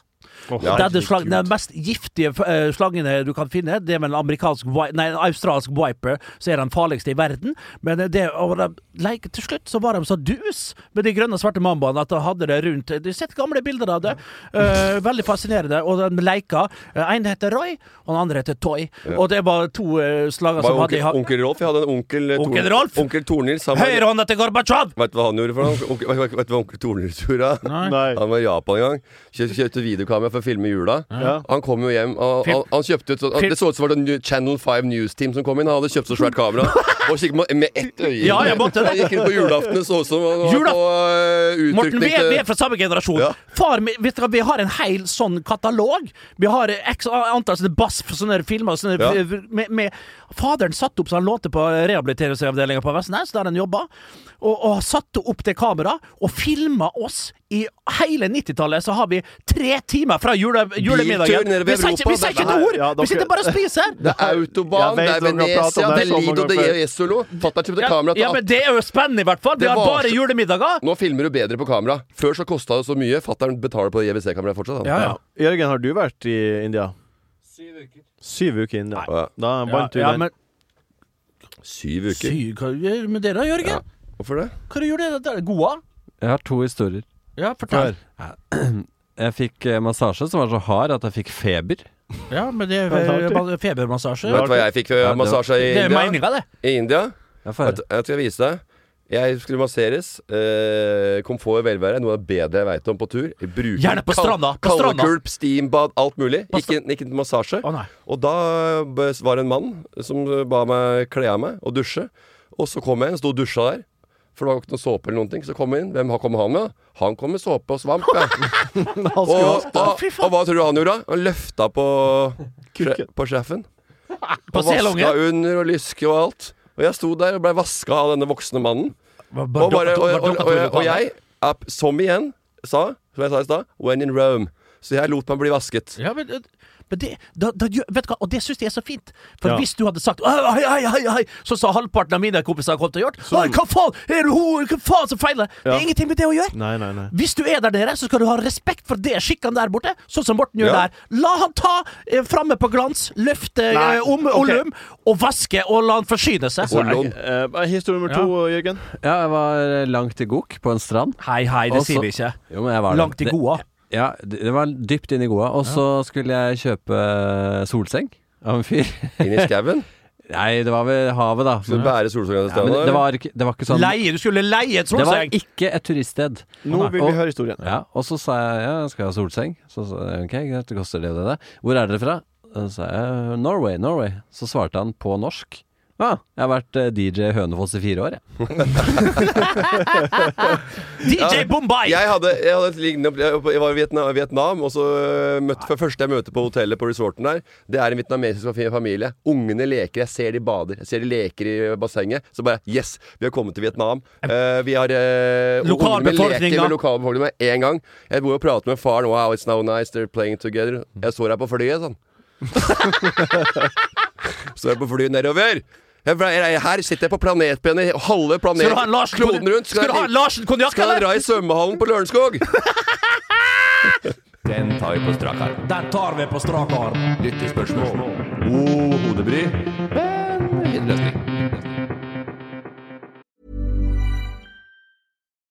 Speaker 2: Å,
Speaker 5: Ja,
Speaker 6: Det er den,
Speaker 2: herregud.
Speaker 6: slang, den mest giftige eh, slangene du kan finne. Det er vel en amerikansk wi- Nei, en australsk wiper, som er den farligste i verden. Men eh, det, og de, like, til slutt så var de så dus med de grønne og svarte mambaene at de hadde det rundt Du har sett gamle bilder av det. Eh, veldig fascinerende. Og de leika. Eh, En heter Roy, og den andre heter Toy. Og det var to eh, slanger
Speaker 5: Var
Speaker 6: som hadde i
Speaker 5: onkel,
Speaker 6: ha-
Speaker 5: onkel Rolf? Jeg hadde en onkel eh,
Speaker 6: Onkel
Speaker 5: Tor-
Speaker 6: Rolf?
Speaker 5: Onkel Tornils. han var-
Speaker 6: Høyrehånda til Gorbatsjov!
Speaker 5: Vet du hva han gjorde for noe? Onkel- Vet vet- vet du hva onkel Tornils gjorde? da?
Speaker 2: Nei.
Speaker 5: Han var i Japan en gang. Kjøpte, kjøpte reklame for å filme jula.
Speaker 2: Ja.
Speaker 5: Han kom jo hjem og
Speaker 6: Film.
Speaker 5: han, han kjøpte ut så,
Speaker 6: Film.
Speaker 5: Det så ut som det var et Channel 5 News Team som kom inn. Han hadde kjøpt så svært kamera og kikket med, med ett øye.
Speaker 6: Ja, jeg måtte det.
Speaker 5: Han gikk inn på julaften og så ut som han var
Speaker 6: Julaften.
Speaker 5: på uh,
Speaker 6: Morten, vi
Speaker 5: utrykning
Speaker 6: er, vi er
Speaker 5: til
Speaker 6: fra samme generasjon.
Speaker 5: Ja.
Speaker 6: Far, min- vet du hva, Vi har en hel sånn katalog. Vi har x antall sånne bass for sånne filmer. og Sånne,
Speaker 5: Ja.
Speaker 6: med, med, faderen satte opp så han lånte på rehabiliteringsavdelinga på Vestnes, der han jobba, og, og satte opp det kameraet og filma oss. I hele 90-tallet så har vi tre timer fra jule,
Speaker 5: Biltur
Speaker 6: julemiddagen.
Speaker 5: nede ved
Speaker 6: Vi sier ikke,
Speaker 5: Europa,
Speaker 6: vi sier ikke
Speaker 5: dette
Speaker 6: et
Speaker 5: her.
Speaker 6: ord!
Speaker 2: Ja, dere-
Speaker 6: Vi sitter bare og spiser!
Speaker 5: Det er Autobahn,
Speaker 2: Jeg
Speaker 5: det
Speaker 2: vet
Speaker 5: er
Speaker 2: dere har pratet
Speaker 5: Venezia, det
Speaker 2: om
Speaker 5: er
Speaker 2: det så mange
Speaker 5: Lido, det
Speaker 2: ganger
Speaker 5: er Jesolo. Fatter'n kjøpte
Speaker 6: Ja,
Speaker 5: kamera til
Speaker 6: ja, men Det er jo spennende, i hvert fall. Vi
Speaker 5: Det
Speaker 6: har
Speaker 5: var
Speaker 6: bare
Speaker 5: så-
Speaker 6: julemiddager.
Speaker 5: Nå filmer du bedre på kamera. Før så kosta det så mye. Fatter'n betaler på det JVC-kameraet fortsatt. Han.
Speaker 6: Ja, ja.
Speaker 2: Jørgen, har du vært i India? Syv uker. Syv uker i India.
Speaker 5: Ja.
Speaker 2: Da vant du
Speaker 6: ja,
Speaker 2: den.
Speaker 6: men,
Speaker 5: Syv uker.
Speaker 6: Sy, hva gjør med dere, Jørgen?
Speaker 5: Hvorfor det?
Speaker 6: Hva gjør dere der? Goa?
Speaker 9: Jeg har to historier.
Speaker 6: Ja, fortell.
Speaker 9: Jeg fikk eh, massasje som var så hard at jeg fikk feber.
Speaker 6: Ja, men det
Speaker 2: Hva
Speaker 6: er
Speaker 2: tar du?
Speaker 6: fe- febermassasje.
Speaker 5: Vet du hva jeg fikk eh,
Speaker 9: Ja, det-
Speaker 5: massasje i
Speaker 6: Det er
Speaker 5: India?
Speaker 6: meninga, det.
Speaker 5: I India?
Speaker 9: Jeg får
Speaker 5: Jeg,
Speaker 9: høre.
Speaker 5: jeg skal vise deg. Jeg skulle masseres. Eh, komfort og velvære er noe av det bedre jeg veit om på tur. Jeg bruker
Speaker 6: Gjerne på
Speaker 5: kal-
Speaker 6: stranda, på stranda.
Speaker 5: Kaldekulp, steambad, alt mulig.
Speaker 6: På
Speaker 5: Gikk inn, gikk inn til massasje.
Speaker 6: Å nei.
Speaker 5: Og da b- var det en mann som ba meg kle av meg og dusje. Og så kom jeg inn, sto og dusja der. For det var jo ikke noe såpe eller noen ting. Så kom jeg inn. Hvem har- kom han med? da? Han kom med såpe og svamp. Ja. og, og, og, hva tror du han gjorde? da? Han løfta på,
Speaker 2: Kuken.
Speaker 5: på sjefen.
Speaker 6: På
Speaker 5: Og vaska
Speaker 6: selungen.
Speaker 5: under og lyske og alt. Og jeg sto der og blei vaska av denne voksne mannen.
Speaker 6: Var- var
Speaker 5: Og, bare,
Speaker 6: dere to-
Speaker 5: og,
Speaker 6: var
Speaker 5: og,
Speaker 6: dere
Speaker 5: og,
Speaker 6: to
Speaker 5: og,
Speaker 6: lokale?
Speaker 5: jeg, er- som igjen sa, som jeg sa i stad, when in Rome. Så jeg lot meg bli vasket.
Speaker 6: Ja, men, eh, men det, da, da, gjør- vet du hva? Og det syns jeg er så fint. For
Speaker 2: Ja.
Speaker 6: hvis du hadde sagt «Oi, oi, oi, oi, oi», så sa halvparten av mine kompiser kom til å gjøre «Oi, Hva faen er det hun Hva faen som feiler? Det
Speaker 2: Ja.
Speaker 6: er ingenting med det å gjøre.
Speaker 2: Nei, nei, nei.
Speaker 6: Hvis du er der nede, så skal du ha respekt for det skikkene der borte, sånn som Morten gjør
Speaker 5: Ja.
Speaker 6: der. La han ta eh, framme på glans, løfte
Speaker 2: Nei,
Speaker 6: eh, om
Speaker 2: ok.
Speaker 6: Olum, og vaske, og la han forsyne seg.
Speaker 5: Og lån.
Speaker 2: Eh, historie nummer to, Jørgen.
Speaker 9: Ja, jeg var eh, langt i gok på en strand.
Speaker 6: Hei, hei, det
Speaker 9: Og så-
Speaker 6: sier vi ikke.
Speaker 9: Jo, men jeg var der.
Speaker 6: Langt i Goa.
Speaker 9: Det, ja, det det var dypt inn i Goa. Og så skulle jeg kjøpe eh, solseng av en fyr.
Speaker 5: Inn i skauen.
Speaker 9: Nei, det var ved havet, da.
Speaker 5: Skulle bære solsongen til
Speaker 9: Ja, men
Speaker 5: stranda.
Speaker 9: det, var ikke, det var ikke sånn
Speaker 6: Leie, du skulle leie et
Speaker 9: Det var
Speaker 6: solseng!
Speaker 9: ikke et turiststed.
Speaker 2: Nå vil
Speaker 9: Og-
Speaker 2: vi høre historien.
Speaker 9: Ja, og så sa jeg ja, jeg skal ha solseng. Så sa jeg ok, greit, det koster det og det. der. Hvor er dere fra? Så sa jeg eh, Norway, Norway. Så svarte han på norsk. Ja, jeg har vært eh, DJ Hønefoss i fire år, jeg.
Speaker 6: DJ Bombay!
Speaker 5: Jeg, hadde, jeg, hadde et lignende, opple- jeg var i Vietnam, Vietnam og så øh, møtte for første jeg møter på hotellet på resorten der, det er en vietnamesisk fa- familie. Ungene leker, jeg ser de bader, jeg ser de leker i bassenget. Så bare yes, vi har kommet til Vietnam. Eh, vi har eh, og ungene leker
Speaker 6: Lokalbefolkninga.
Speaker 5: med lokalbefolkningen med en gang. Jeg bor og prater med faren. Wow, it's now nice, they're playing together. Jeg så deg på flyet, sånn. så jeg på flyet nedover. Jeg ble- jeg- Her sitter jeg på planetbenet, halve
Speaker 6: Skal du ha en
Speaker 5: planeten,
Speaker 6: Larsen
Speaker 5: kloden rundt.
Speaker 6: Skal du ha en Larsen konjakk,
Speaker 5: Skal han
Speaker 6: eller?
Speaker 5: dra i svømmehallen på Lørenskog? Den tar vi på strak arm.
Speaker 6: Den tar vi på strak arm.
Speaker 5: Lyttespørsmål. God hodebry, men fin løsning.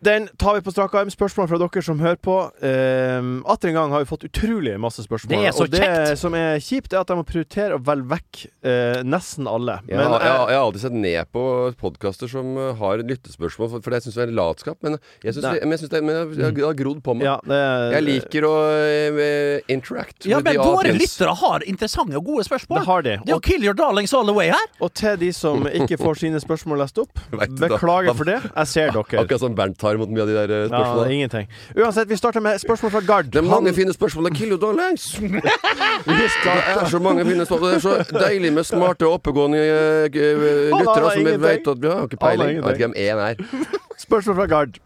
Speaker 2: Den tar vi på strak arm. Spørsmål fra dere som hører på. Um, Atter en gang har vi fått utrolig masse spørsmål.
Speaker 5: Det er så
Speaker 2: og det
Speaker 5: kjekt.
Speaker 2: som er kjipt, er at jeg må prioritere å velge vekk eh, nesten alle.
Speaker 5: Jeg,
Speaker 2: Men eh,
Speaker 5: har- jeg,
Speaker 2: jeg-
Speaker 5: har- jeg har alltid sett ned på podkaster som eh, har lyttespørsmål, for, for det syns jeg er latskap. Men jeg syns
Speaker 2: Nei. Mm.
Speaker 5: det, men jeg synes det, men jeg- jeg- det har grodd på meg. jeg liker å eh, interact.
Speaker 6: Ja,
Speaker 5: with
Speaker 6: men
Speaker 5: the
Speaker 6: våre
Speaker 5: audience.
Speaker 6: lyttere har interessante og gode spørsmål.
Speaker 2: Det har de.
Speaker 6: Det er jo kill your darlings all the way her.
Speaker 2: Og til de som ikke får sine spørsmål lest opp,
Speaker 5: Vet du, da-
Speaker 2: beklager
Speaker 5: da-
Speaker 2: for det. Jeg ser dere.
Speaker 5: Akkurat som Bernt tar imot mye av de der eh,
Speaker 2: Ja,
Speaker 5: spørsmålene.
Speaker 2: ingenting. Uansett, vi starter med spørsmål fra Gard.
Speaker 5: det er mange
Speaker 2: Han-
Speaker 5: fine spørsmål. Det er Kill you darlings! Det er så mange fine spørsmål. Det er så deilig med smarte, oppegående eh, g- eh,
Speaker 2: Han
Speaker 5: lyttere
Speaker 2: aner
Speaker 5: som
Speaker 2: ingenting.
Speaker 5: vet at Ja, har ikke
Speaker 2: Han aner
Speaker 5: peiling. Jeg vet ikke hvem én er.
Speaker 2: Spørsmål fra Gard.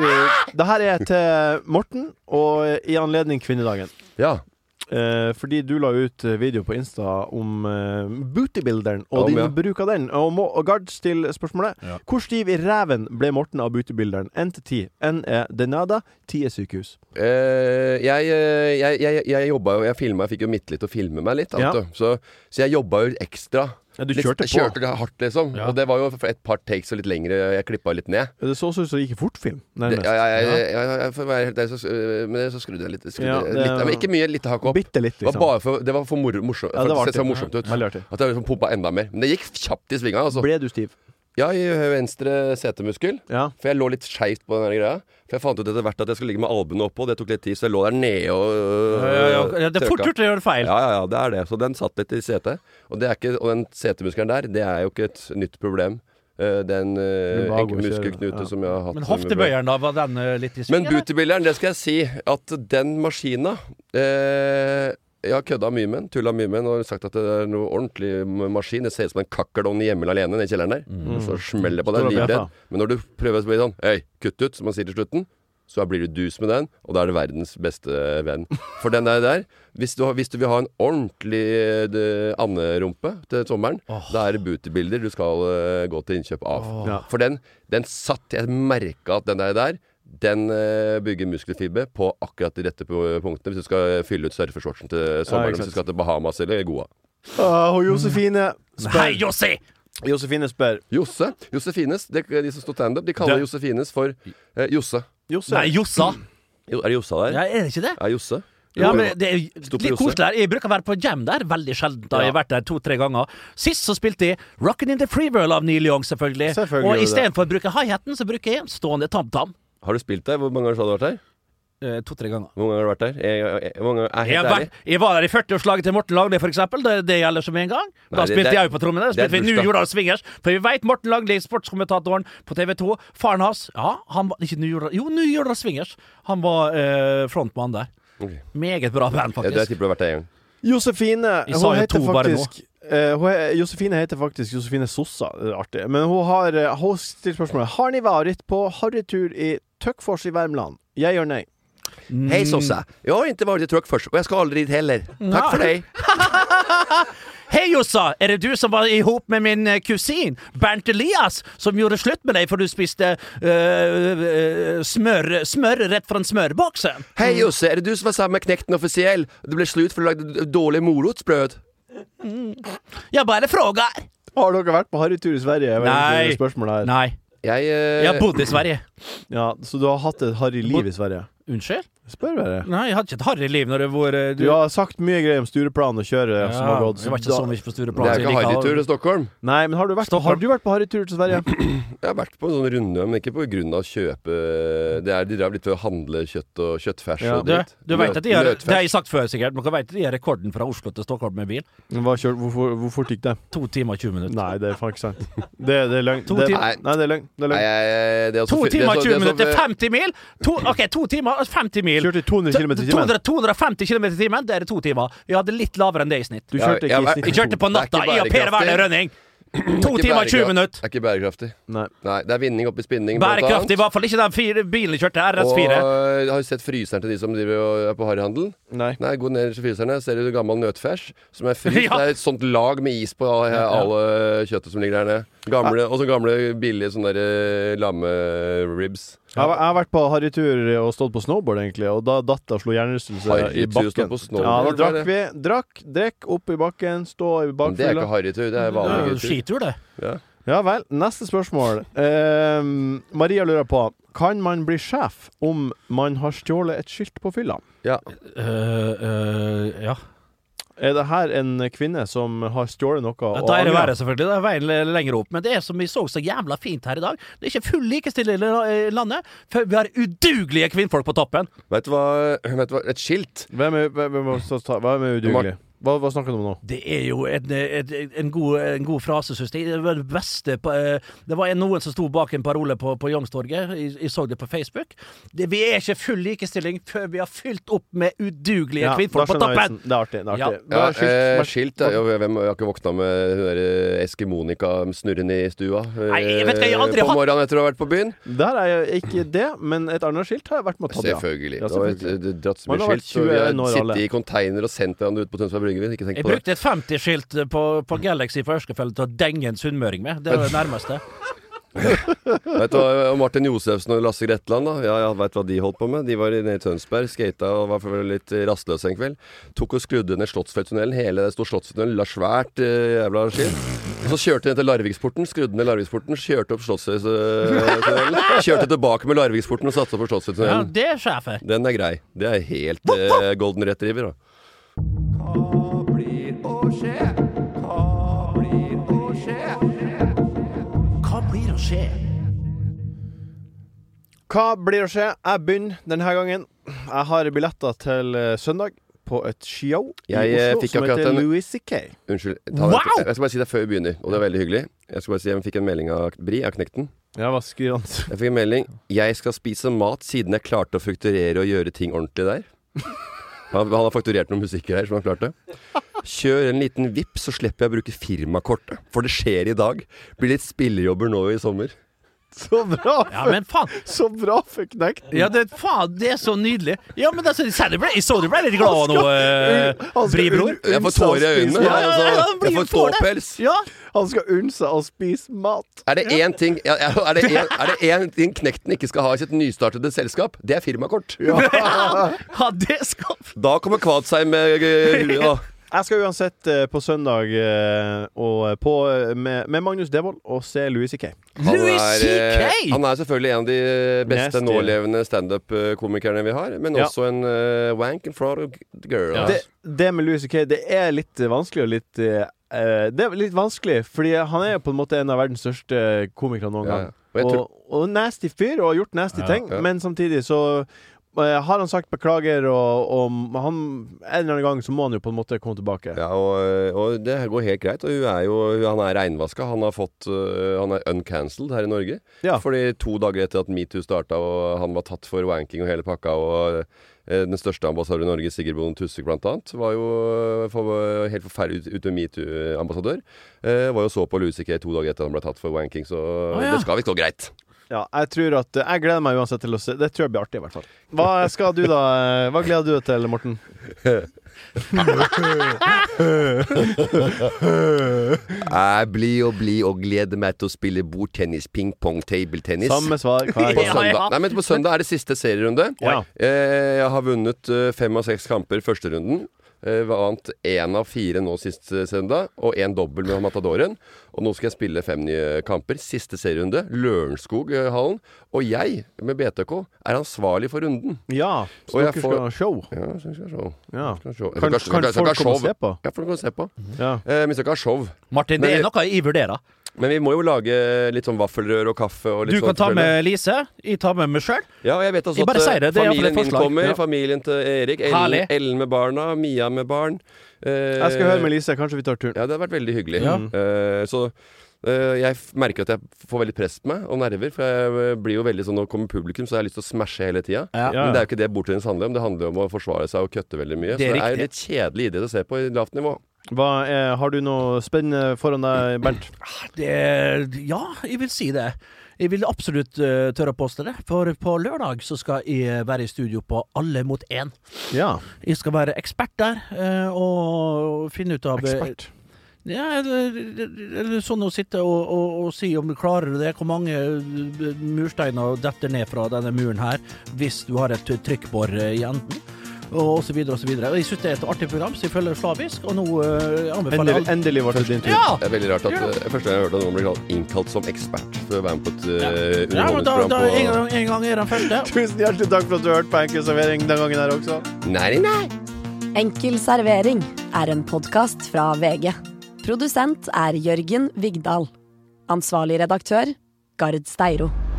Speaker 2: Uh, det her er til Morten, og i anledning kvinnedagen. Eh, fordi du la ut video på Insta om eh, bootybuilderen og
Speaker 5: Om,
Speaker 2: din
Speaker 5: ja.
Speaker 2: bruk av den. Og, må, og Gard stiller spørsmålet. Hvor stiv i ræven ble Morten av bootybuilderen? Én til ti. Én er denada, ti er sykehus.
Speaker 5: Eh, jeg, eh, jeg, jeg, jeg jobba jo Jeg filma, jeg fikk jo Midtlytt til å filme meg litt.
Speaker 2: Ja.
Speaker 5: vet du. Så, så jeg jobba jo ekstra.
Speaker 2: Ja, du
Speaker 5: Litt-
Speaker 2: kjørte på.
Speaker 5: kjørte det hardt, liksom. Og det var jo for et par takes og litt lengre. Jeg klippa litt ned.
Speaker 2: Det så ut som det gikk i fortfilm,
Speaker 5: Det,
Speaker 2: nærmest.
Speaker 5: ja, ja, ja, ja, ja, for å være helt ærlig, så, øh, men så skrudde jeg litt. Skrudde
Speaker 2: Ja,
Speaker 5: jeg
Speaker 2: det-
Speaker 5: litt men ikke mye, litt hakk opp.
Speaker 2: Bitte litt,
Speaker 5: Det
Speaker 2: liksom.
Speaker 5: var bare for, det var for moro, morsomt.
Speaker 2: Ja, det var
Speaker 5: for det så
Speaker 2: artig.
Speaker 5: morsomt ut.
Speaker 2: Ja, veldig artig.
Speaker 5: At jeg liksom pumpa enda mer. Men det gikk kjapt i svinga. Altså.
Speaker 2: Ble du stiv?
Speaker 5: Ja, i venstre setemuskel.
Speaker 2: Ja.
Speaker 5: For jeg lå litt skeivt på den der greia. For jeg fant ut etter hvert at jeg skulle ligge med albuene oppå. Det tok litt tid, så jeg lå der nede og øh,
Speaker 6: Ja, ja, ja. Det er fort
Speaker 5: trøkka.
Speaker 6: gjort å gjøre feil.
Speaker 5: Ja, ja, ja, det er det. Så den satt litt i setet. Og, det er ikke, og den setemuskelen der, det er jo ikke et nytt problem. Eh, Det er en, øh,
Speaker 6: Det er bare
Speaker 5: en
Speaker 6: å kjøre,
Speaker 5: muskelknute
Speaker 6: ja.
Speaker 5: som jeg har hatt
Speaker 6: Men hoftebøyeren, da, var den eh, litt i sving?
Speaker 5: men
Speaker 6: eller?
Speaker 5: bootybuilderen, det skal jeg si at den maskina eh, Jeg har kødda mye med den, tulla mye med den og sagt at det er noe ordentlig maskin. Det ser ut som en kakkelovn hjemme alene nede i kjelleren der.
Speaker 9: Mm.
Speaker 5: Så smeller det på deg.
Speaker 9: Står og
Speaker 5: Livredd.
Speaker 9: bjeffer.
Speaker 5: Men når du prøver å bli sånn Hei, kutt ut, som man sier til slutten. Så blir du dus med den, og da er det verdens beste venn. For den der, der hvis, du, har- hvis du vil ha en ordentlig eh, de- anderumpe til sommeren, da er det bootybilder du skal eh, gå til innkjøp av.
Speaker 2: Åh. Ja.
Speaker 5: For den, den satt Jeg merka at den der, der den eh, bygger muskelfiber på akkurat de rette pu- punktene hvis du skal fylle ut surfeshortsen til sommeren.
Speaker 2: ikke sant.
Speaker 5: hvis du skal til Bahamas eller Goa.
Speaker 2: Ah, og Josefine spør
Speaker 5: Hei,
Speaker 6: Jossi!
Speaker 2: Josefine spør
Speaker 5: Josse. Josefines. De, de som står standup, de kaller
Speaker 2: Det-
Speaker 5: Josefines for eh, Josse.
Speaker 2: Josse.
Speaker 6: Nei, Jossa.
Speaker 5: Jo, er det Jossa der?
Speaker 6: Ja, er det ikke det?
Speaker 5: Ja, Josse.
Speaker 6: Ja,
Speaker 5: Jo,
Speaker 6: men det er
Speaker 5: Sto på
Speaker 6: litt
Speaker 5: Josse.
Speaker 6: koselig der. Jeg bruker å være på jam der, veldig sjelden. da Jeg har vært der to-tre ganger. Sist så spilte jeg Rockin' in the Free World av Neil Young, selvfølgelig.
Speaker 5: Selvfølgelig gjorde
Speaker 6: og
Speaker 5: du
Speaker 6: istedenfor å bruke hi-haten, så bruker jeg en stående tamtam.
Speaker 5: Har du spilt der? Hvor mange ganger har du vært der?
Speaker 6: Eh, To-tre ganger.
Speaker 5: Hvor mange ganger har du vært der? Jeg, jeg, jeg, hvor mange ganger, jeg,
Speaker 6: Jeg,
Speaker 5: er helt
Speaker 6: var-
Speaker 5: ærlig.
Speaker 6: jeg var der i 40-årslaget til Morten Lagli, for eksempel. Det, det gjelder som en gang.
Speaker 5: Nei,
Speaker 6: Da
Speaker 5: det-
Speaker 6: spilte
Speaker 5: det-
Speaker 6: jeg jo på trommene. Da
Speaker 5: det er
Speaker 6: spilte vi
Speaker 5: bursdag.
Speaker 6: New Jordal Swingers. For vi veit Morten Lagli, sportskommentatoren på TV 2. Faren hans Ja, han var ikke New Jordal Jo, New Jordal Swingers. Han var eh, frontmann der. Meget bra band,
Speaker 5: Jeg, jeg
Speaker 6: faktisk.
Speaker 5: tipper du har vært der en gang.
Speaker 2: Josefine
Speaker 6: Vi sa
Speaker 2: hun
Speaker 6: jo
Speaker 2: heter,
Speaker 6: to bare nå.
Speaker 2: faktisk, eh, hun er, Josefine heter faktisk Josefine Sossa. Det er Artig. Men hun har eh, Hun stiller spørsmålet Har ni vært på harrytur i Tøkfors i Värmland. Jeg gjør nei.
Speaker 6: Mm.
Speaker 5: Hei, Sossa. Jeg har ikke vært i trøkk først, og jeg skal aldri dit heller. Takk for deg.
Speaker 6: Hei, Jossa! Er det du som var i hop med min eh, kusin Bernt Elias, som gjorde slutt med deg for du spiste eh, eh, smør, smør rett fra en smørboks?
Speaker 5: Hei, Josse. Er det du som var sammen med Knekten offisiell? Det ble slutt for du lagde d- dårlig morotsbrød.
Speaker 6: Jeg bare frågar.
Speaker 2: Har dere vært på harrytur i Sverige? Jeg vet
Speaker 6: Nei.
Speaker 2: ikke om det er spørsmålet
Speaker 5: Eh,
Speaker 2: her.
Speaker 6: Nei.
Speaker 5: Jeg, eh,
Speaker 6: Jeg bodde i Sverige.
Speaker 2: Ja, Så du har hatt et harry liv i Sverige?
Speaker 6: Unnskyld?
Speaker 2: Spør bare.
Speaker 6: Nei, jeg hadde ikke et harry liv når det var eh,
Speaker 2: Du har sagt mye greier om Stureplan og kjøret som har gått.
Speaker 6: jeg var ikke
Speaker 2: da-
Speaker 6: så mye på Stureplan, Det er så ikke jeg liker-
Speaker 5: harrytur i Stockholm.
Speaker 2: Nei, men har du vært, har du vært på harrytur til Sverige?
Speaker 5: Jeg har vært på en sånn runde, men ikke på grunn av å kjøpe det er, De drev litt for å handle kjøtt og kjøttfers
Speaker 2: Ja.
Speaker 5: og
Speaker 6: Du,
Speaker 5: dritt.
Speaker 6: du vet
Speaker 5: Løt-
Speaker 6: at de har,
Speaker 5: løtfers.
Speaker 6: Det har jeg sagt før, sikkert. Men dere vet at de har rekorden fra Oslo til Stockholm med bil?
Speaker 2: Hva kjør, hvorfor, hvor fort gikk det?
Speaker 6: To timer og 20 minutter.
Speaker 2: Nei, det er faen ikke sant. Det, det er løgn.
Speaker 6: To
Speaker 2: Det, nei,
Speaker 6: timer.
Speaker 2: det er løgn. Det er løgn.
Speaker 5: Nei, det er også
Speaker 6: To
Speaker 5: fy- det er
Speaker 6: timer
Speaker 5: så-
Speaker 6: og
Speaker 5: det er
Speaker 6: 20
Speaker 5: så-
Speaker 6: minutter! 50 mil! To, OK, to timer og 50 mil.
Speaker 2: Kjørte i 200 kilometer i timen.
Speaker 6: 200, 250 km i timen, det er det to timer. Vi hadde litt lavere enn det i snitt.
Speaker 2: Du kjørte ikke i snitt
Speaker 6: Jeg kjørte på natta, jeg og Per Werner Rønning. To
Speaker 5: Ikke
Speaker 6: timer og 20
Speaker 5: bærekraft-
Speaker 6: minutter.
Speaker 5: Er ikke bærekraftig.
Speaker 2: Nei.
Speaker 5: det er vinding oppi spinning. blant annet.
Speaker 6: Bærekraftig, i hvert fall ikke den fire bilen jeg kjørte,
Speaker 5: Og
Speaker 6: RS4.
Speaker 5: øh, har du sett fryseren til de som driver og er på harryhandel?
Speaker 2: Nei.
Speaker 5: Gå ned til fryserne, ser du gammel nøtfers som er fryst.
Speaker 6: Ja.
Speaker 5: Det er et sånt lag med is på alle, alle kjøttet som ligger der nede. Gamle, Og så gamle, billige sånne der, øh, lammeribs.
Speaker 2: Jeg har, jeg har vært på harrytur og stått på snowboard, egentlig, og da datt jeg og slo hjernerystelse i
Speaker 5: Harrytur, stå
Speaker 2: bakken.
Speaker 5: på snowboard,
Speaker 2: Ja, da
Speaker 5: var
Speaker 2: drakk
Speaker 5: det?
Speaker 2: vi. Drakk, drekk opp i bakken, stå i
Speaker 5: Men Det er ikke
Speaker 2: bakfylla.
Speaker 5: harrytur, det er
Speaker 2: Det er
Speaker 5: vanlig
Speaker 2: jo
Speaker 5: tur.
Speaker 6: skitur, det.
Speaker 5: Ja.
Speaker 2: Ja, Ja vel. Neste spørsmål. Eh, Maria lurer på Kan man bli sjef om man har stjålet et skilt på fylla?
Speaker 5: Ja.
Speaker 6: Eh,
Speaker 2: ja. Er det her en kvinne som har stjålet noe? og
Speaker 6: Da er det
Speaker 2: angrer?
Speaker 6: verre, selvfølgelig. Da er veien le- lenger opp. Men det er som vi så så jævla fint her i dag. Det er ikke full likestilling i la- i landet før vi har udugelige kvinnfolk på toppen.
Speaker 5: Vet du hva? Vet du hva? Et skilt.
Speaker 2: Hvem er, hvem er, hvem er udugelig? Hva, hva snakker du om nå?
Speaker 6: Det er jo en, en, en, god, en god frase, synes jeg. Det var det beste på, eh, Det var en- noen som sto bak en parole på, på Youngstorget. Jeg, jeg så det på Facebook. Det, vi er ikke full likestilling før vi har fylt opp med udugelige
Speaker 5: Ja,
Speaker 6: kvinnfolk
Speaker 2: da
Speaker 6: på
Speaker 2: skjønner jeg
Speaker 6: toppen!
Speaker 2: vitsen. Det er artig, det er artig.
Speaker 5: Ja,
Speaker 2: Hva er skilt? Hva
Speaker 5: eh,
Speaker 2: er
Speaker 5: skilt ja. Jo, hvem har ikke våkna med hun der eh, Eskimonika snurrende i stua eh,
Speaker 2: Nei, jeg vet ikke, jeg har aldri
Speaker 5: på
Speaker 2: hatt-
Speaker 5: morgenen etter å ha vært på byen?
Speaker 2: Der er jeg ikke det, men et annet skilt har jeg vært med å ta. ja.
Speaker 5: Selvfølgelig.
Speaker 2: Ja,
Speaker 5: Det var et-
Speaker 2: selvfølgelig.
Speaker 5: det- dratt så
Speaker 2: Man
Speaker 5: mye
Speaker 2: har vært
Speaker 5: skilt. så Vi
Speaker 2: 21 år
Speaker 5: har
Speaker 2: alle.
Speaker 5: sittet i container og sendt hverandre ut på Tønsberg Brygge. vi. Ikke tenk
Speaker 6: Jeg
Speaker 5: på det.
Speaker 6: brukte et 50-skilt på, på Galaxy fra Ørskefjellet til å denge en sunnmøring med. Det var det nærmeste.
Speaker 5: Vet du hva, og Martin Josefsen og Lasse Gretland, da. Ja, ja, veit hva de holdt på med? De var nede i Tønsberg, skata og var for- litt rastløse en kveld. Tok og skrudde ned Slottsfjelltunnelen. Hele det store Slottsfjelltunnelen la svært eh, jævla skilt. Og så kjørte de ned til Larviksporten, skrudde ned Larviksporten, kjørte opp Slottsfjelltunnelen. Kjørte tilbake med Larviksporten og satsa på
Speaker 6: Ja,
Speaker 5: Slottsfjelltunnelen.
Speaker 6: det er sjefet.
Speaker 5: Den er grei. Det er helt eh, golden retriever, da.
Speaker 6: Hva blir å skje?
Speaker 2: Hva blir å skje? Jeg begynner denne gangen. Jeg har billetter til eh, søndag på et show i
Speaker 5: Jeg eh,
Speaker 2: Oslo
Speaker 5: fikk
Speaker 2: som
Speaker 5: akkurat
Speaker 2: heter
Speaker 5: en
Speaker 2: Louis C.K.
Speaker 5: Unnskyld. Ta,
Speaker 2: Wow!
Speaker 5: jeg, jeg skal bare si det før vi begynner, og det er veldig hyggelig. Jeg skal bare si Jeg fikk en melding av Bri, av Knekten.
Speaker 2: Ja, hva skriver han?
Speaker 5: Jeg fikk en melding 'Jeg skal spise mat siden jeg klarte å fakturere og gjøre ting ordentlig der'. Han, han har fakturert noen musikkgreier som han klarte. Kjør en liten vipp, så slipper jeg å bruke firmakortet. For det skjer i dag. Blir litt spillejobber nå i sommer.
Speaker 2: Så bra!
Speaker 6: Ja, men faen.
Speaker 2: Så bra for knekten.
Speaker 6: Ja, det, faen, det er så nydelig. Ja, men altså, jeg ble, jeg så du ble litt glad nå, eh, Bribror.
Speaker 5: Jeg får tårer i øynene.
Speaker 6: Ja, ja, ja,
Speaker 5: altså. jeg
Speaker 6: blir-
Speaker 5: får
Speaker 6: får det.
Speaker 5: tåpels.
Speaker 6: Ja.
Speaker 2: Han skal unne seg å spise mat.
Speaker 5: Er det én ting ja, ja, Er det én- er det én ting Knekten ikke skal ha i sitt nystartede selskap? Det er firmakort.
Speaker 6: Ja, det skal
Speaker 5: Da kommer Kvadsheim med eh, huet, da.
Speaker 2: Jeg skal uansett eh, på søndag eh, og på, eh, med, med Magnus Devold og se Louis C.K.
Speaker 5: Han er, eh, han er selvfølgelig en av de eh, beste
Speaker 2: Nasty.
Speaker 5: nålevende standup-komikerne vi har, men
Speaker 2: Ja.
Speaker 5: også en eh, wank and fraud of girl.
Speaker 2: Det, det med Louis C.K., det er litt eh, vanskelig og litt eh, Det er litt vanskelig, fordi han er jo på en måte en av verdens største komikere noen
Speaker 5: Ja, ja.
Speaker 2: gang.
Speaker 5: Og jeg
Speaker 2: Og,
Speaker 5: tror-
Speaker 2: og nasty fyr, og har gjort nasty
Speaker 5: Ja,
Speaker 2: ting,
Speaker 5: ja.
Speaker 2: men samtidig så eh, har han sagt beklager, og, og han, en eller annen gang så må han jo på en måte komme tilbake.
Speaker 5: Ja, og, og det går helt greit. Og hun er jo, han er reinvaska. Han har fått øh, Han er uncancelled her i Norge. Fordi to dager etter at metoo starta og han var tatt for wanking og hele pakka, og øh, den største ambassadøren i Norge, Sigurd Bonde Tusvik blant annet, var jo øh, for, helt forferdelig ut- ute med metoo-ambassadør. Eh, var jo så på Louis C.K. to dager etter han ble tatt for wanking, så
Speaker 2: Å, ja.
Speaker 5: det skal visst gå greit.
Speaker 2: Ja, jeg tror at eh, Jeg gleder meg uansett til å se. Det tror jeg blir artig, i hvert fall. Hva skal du da eh, Hva gleder du deg til, Morten?
Speaker 5: Jeg er blid og blid og gleder meg til å spille bordtennis, ping-pong, tabletennis.
Speaker 2: Samme svar hver gang.
Speaker 5: På
Speaker 2: Ja,
Speaker 5: søndag.
Speaker 2: ja.
Speaker 5: Nei, men på søndag er det siste serierunde.
Speaker 2: Ja.
Speaker 5: Eh, Jeg har vunnet eh, fem av seks kamper første runden. Eh, Vant én av fire nå sist eh, søndag, og én dobbel med Matadoren. Og nå skal jeg spille fem nye kamper. Siste serierunde, Lørenskog-hallen. Og jeg, med BTK, er ansvarlig for runden.
Speaker 2: Ja, så
Speaker 5: Og jeg
Speaker 2: dere
Speaker 5: får-
Speaker 2: skal ha show?
Speaker 5: Ja, så skal jeg show.
Speaker 2: Ja.
Speaker 5: Skal jeg show. Jeg
Speaker 2: Kan-
Speaker 5: skal ikke- jeg skal
Speaker 2: kan
Speaker 5: ikke ha
Speaker 2: folk komme og
Speaker 5: show.
Speaker 2: se på?
Speaker 5: Ja, folk kan se på.
Speaker 2: Ja.
Speaker 5: Eh, Men vi skal ikke ha show.
Speaker 6: Martin, det
Speaker 5: Men
Speaker 6: er
Speaker 5: vi-
Speaker 6: noe jeg vurderer.
Speaker 5: Men vi må jo lage litt sånn vaffelrør og kaffe og litt
Speaker 6: Du
Speaker 5: sånn
Speaker 6: kan ta
Speaker 5: forskjellig.
Speaker 6: med Lise. Jeg tar med meg sjøl.
Speaker 5: Ja, og jeg vet
Speaker 6: Jeg
Speaker 5: også
Speaker 6: bare
Speaker 5: at eh,
Speaker 6: sier det, det er i hvert fall et
Speaker 5: familien min
Speaker 6: forslag.
Speaker 5: kommer.
Speaker 6: Ja.
Speaker 5: Familien til Erik. Ellen,
Speaker 6: Herlig.
Speaker 5: Ellen med barna. Mia med barn. eh,
Speaker 2: Jeg skal høre med Lise. Kanskje vi tar turen.
Speaker 5: Ja, det hadde vært veldig hyggelig.
Speaker 2: Ja.
Speaker 6: Mm.
Speaker 5: Eh, så eh, jeg f- merker at jeg får veldig press på meg, og nerver. For jeg eh, blir jo veldig sånn når det kommer publikum, så har jeg lyst til å smashe hele tida.
Speaker 6: Ja.
Speaker 5: Men det er jo ikke det bordtennis handler om. Det handler om å forsvare seg og køtte veldig mye.
Speaker 6: Det
Speaker 5: så det
Speaker 6: er
Speaker 5: er
Speaker 6: riktig.
Speaker 5: jo litt kjedelig idrett å se på i lavt nivå.
Speaker 2: Hva er, har du noe spennende foran deg, Bernt?
Speaker 6: Det, ja, jeg vil si det. Jeg vil absolutt eh, tørre å påstå det, for på lørdag så skal jeg eh, være i studio på Alle mot én.
Speaker 2: Ja.
Speaker 6: Jeg skal være ekspert der, eh, og finne ut av eh,
Speaker 2: Ekspert?
Speaker 6: Ja, eller, eller sånn å sitte og, og, og si om du klarer det, hvor mange eh, mursteiner detter ned fra denne muren her, hvis du har et trykkbår eh, i enden. og så videre og så videre. Og Jeg syns det er et artig program, så jeg følger slavisk, og nå eh, anbefaler
Speaker 2: Endelig,
Speaker 6: jeg alle-
Speaker 2: endelig ble det din tur.
Speaker 6: Ja!
Speaker 5: Det er veldig rart at
Speaker 6: Ja.
Speaker 5: eh, Første gang jeg hørte at noen ble kalt innkalt som ekspert for å være med på et eh,
Speaker 6: Ja, men da, da en,
Speaker 5: underholdningsprogram
Speaker 6: gang, en gang er den første.
Speaker 2: Tusen hjertelig takk for at du hørte på Enkel servering den gangen her også.
Speaker 5: på Nei, nei, nei.
Speaker 1: Enkel servering er en podkast fra VG. Produsent er Jørgen Vigdal. Ansvarlig redaktør Gard Steiro.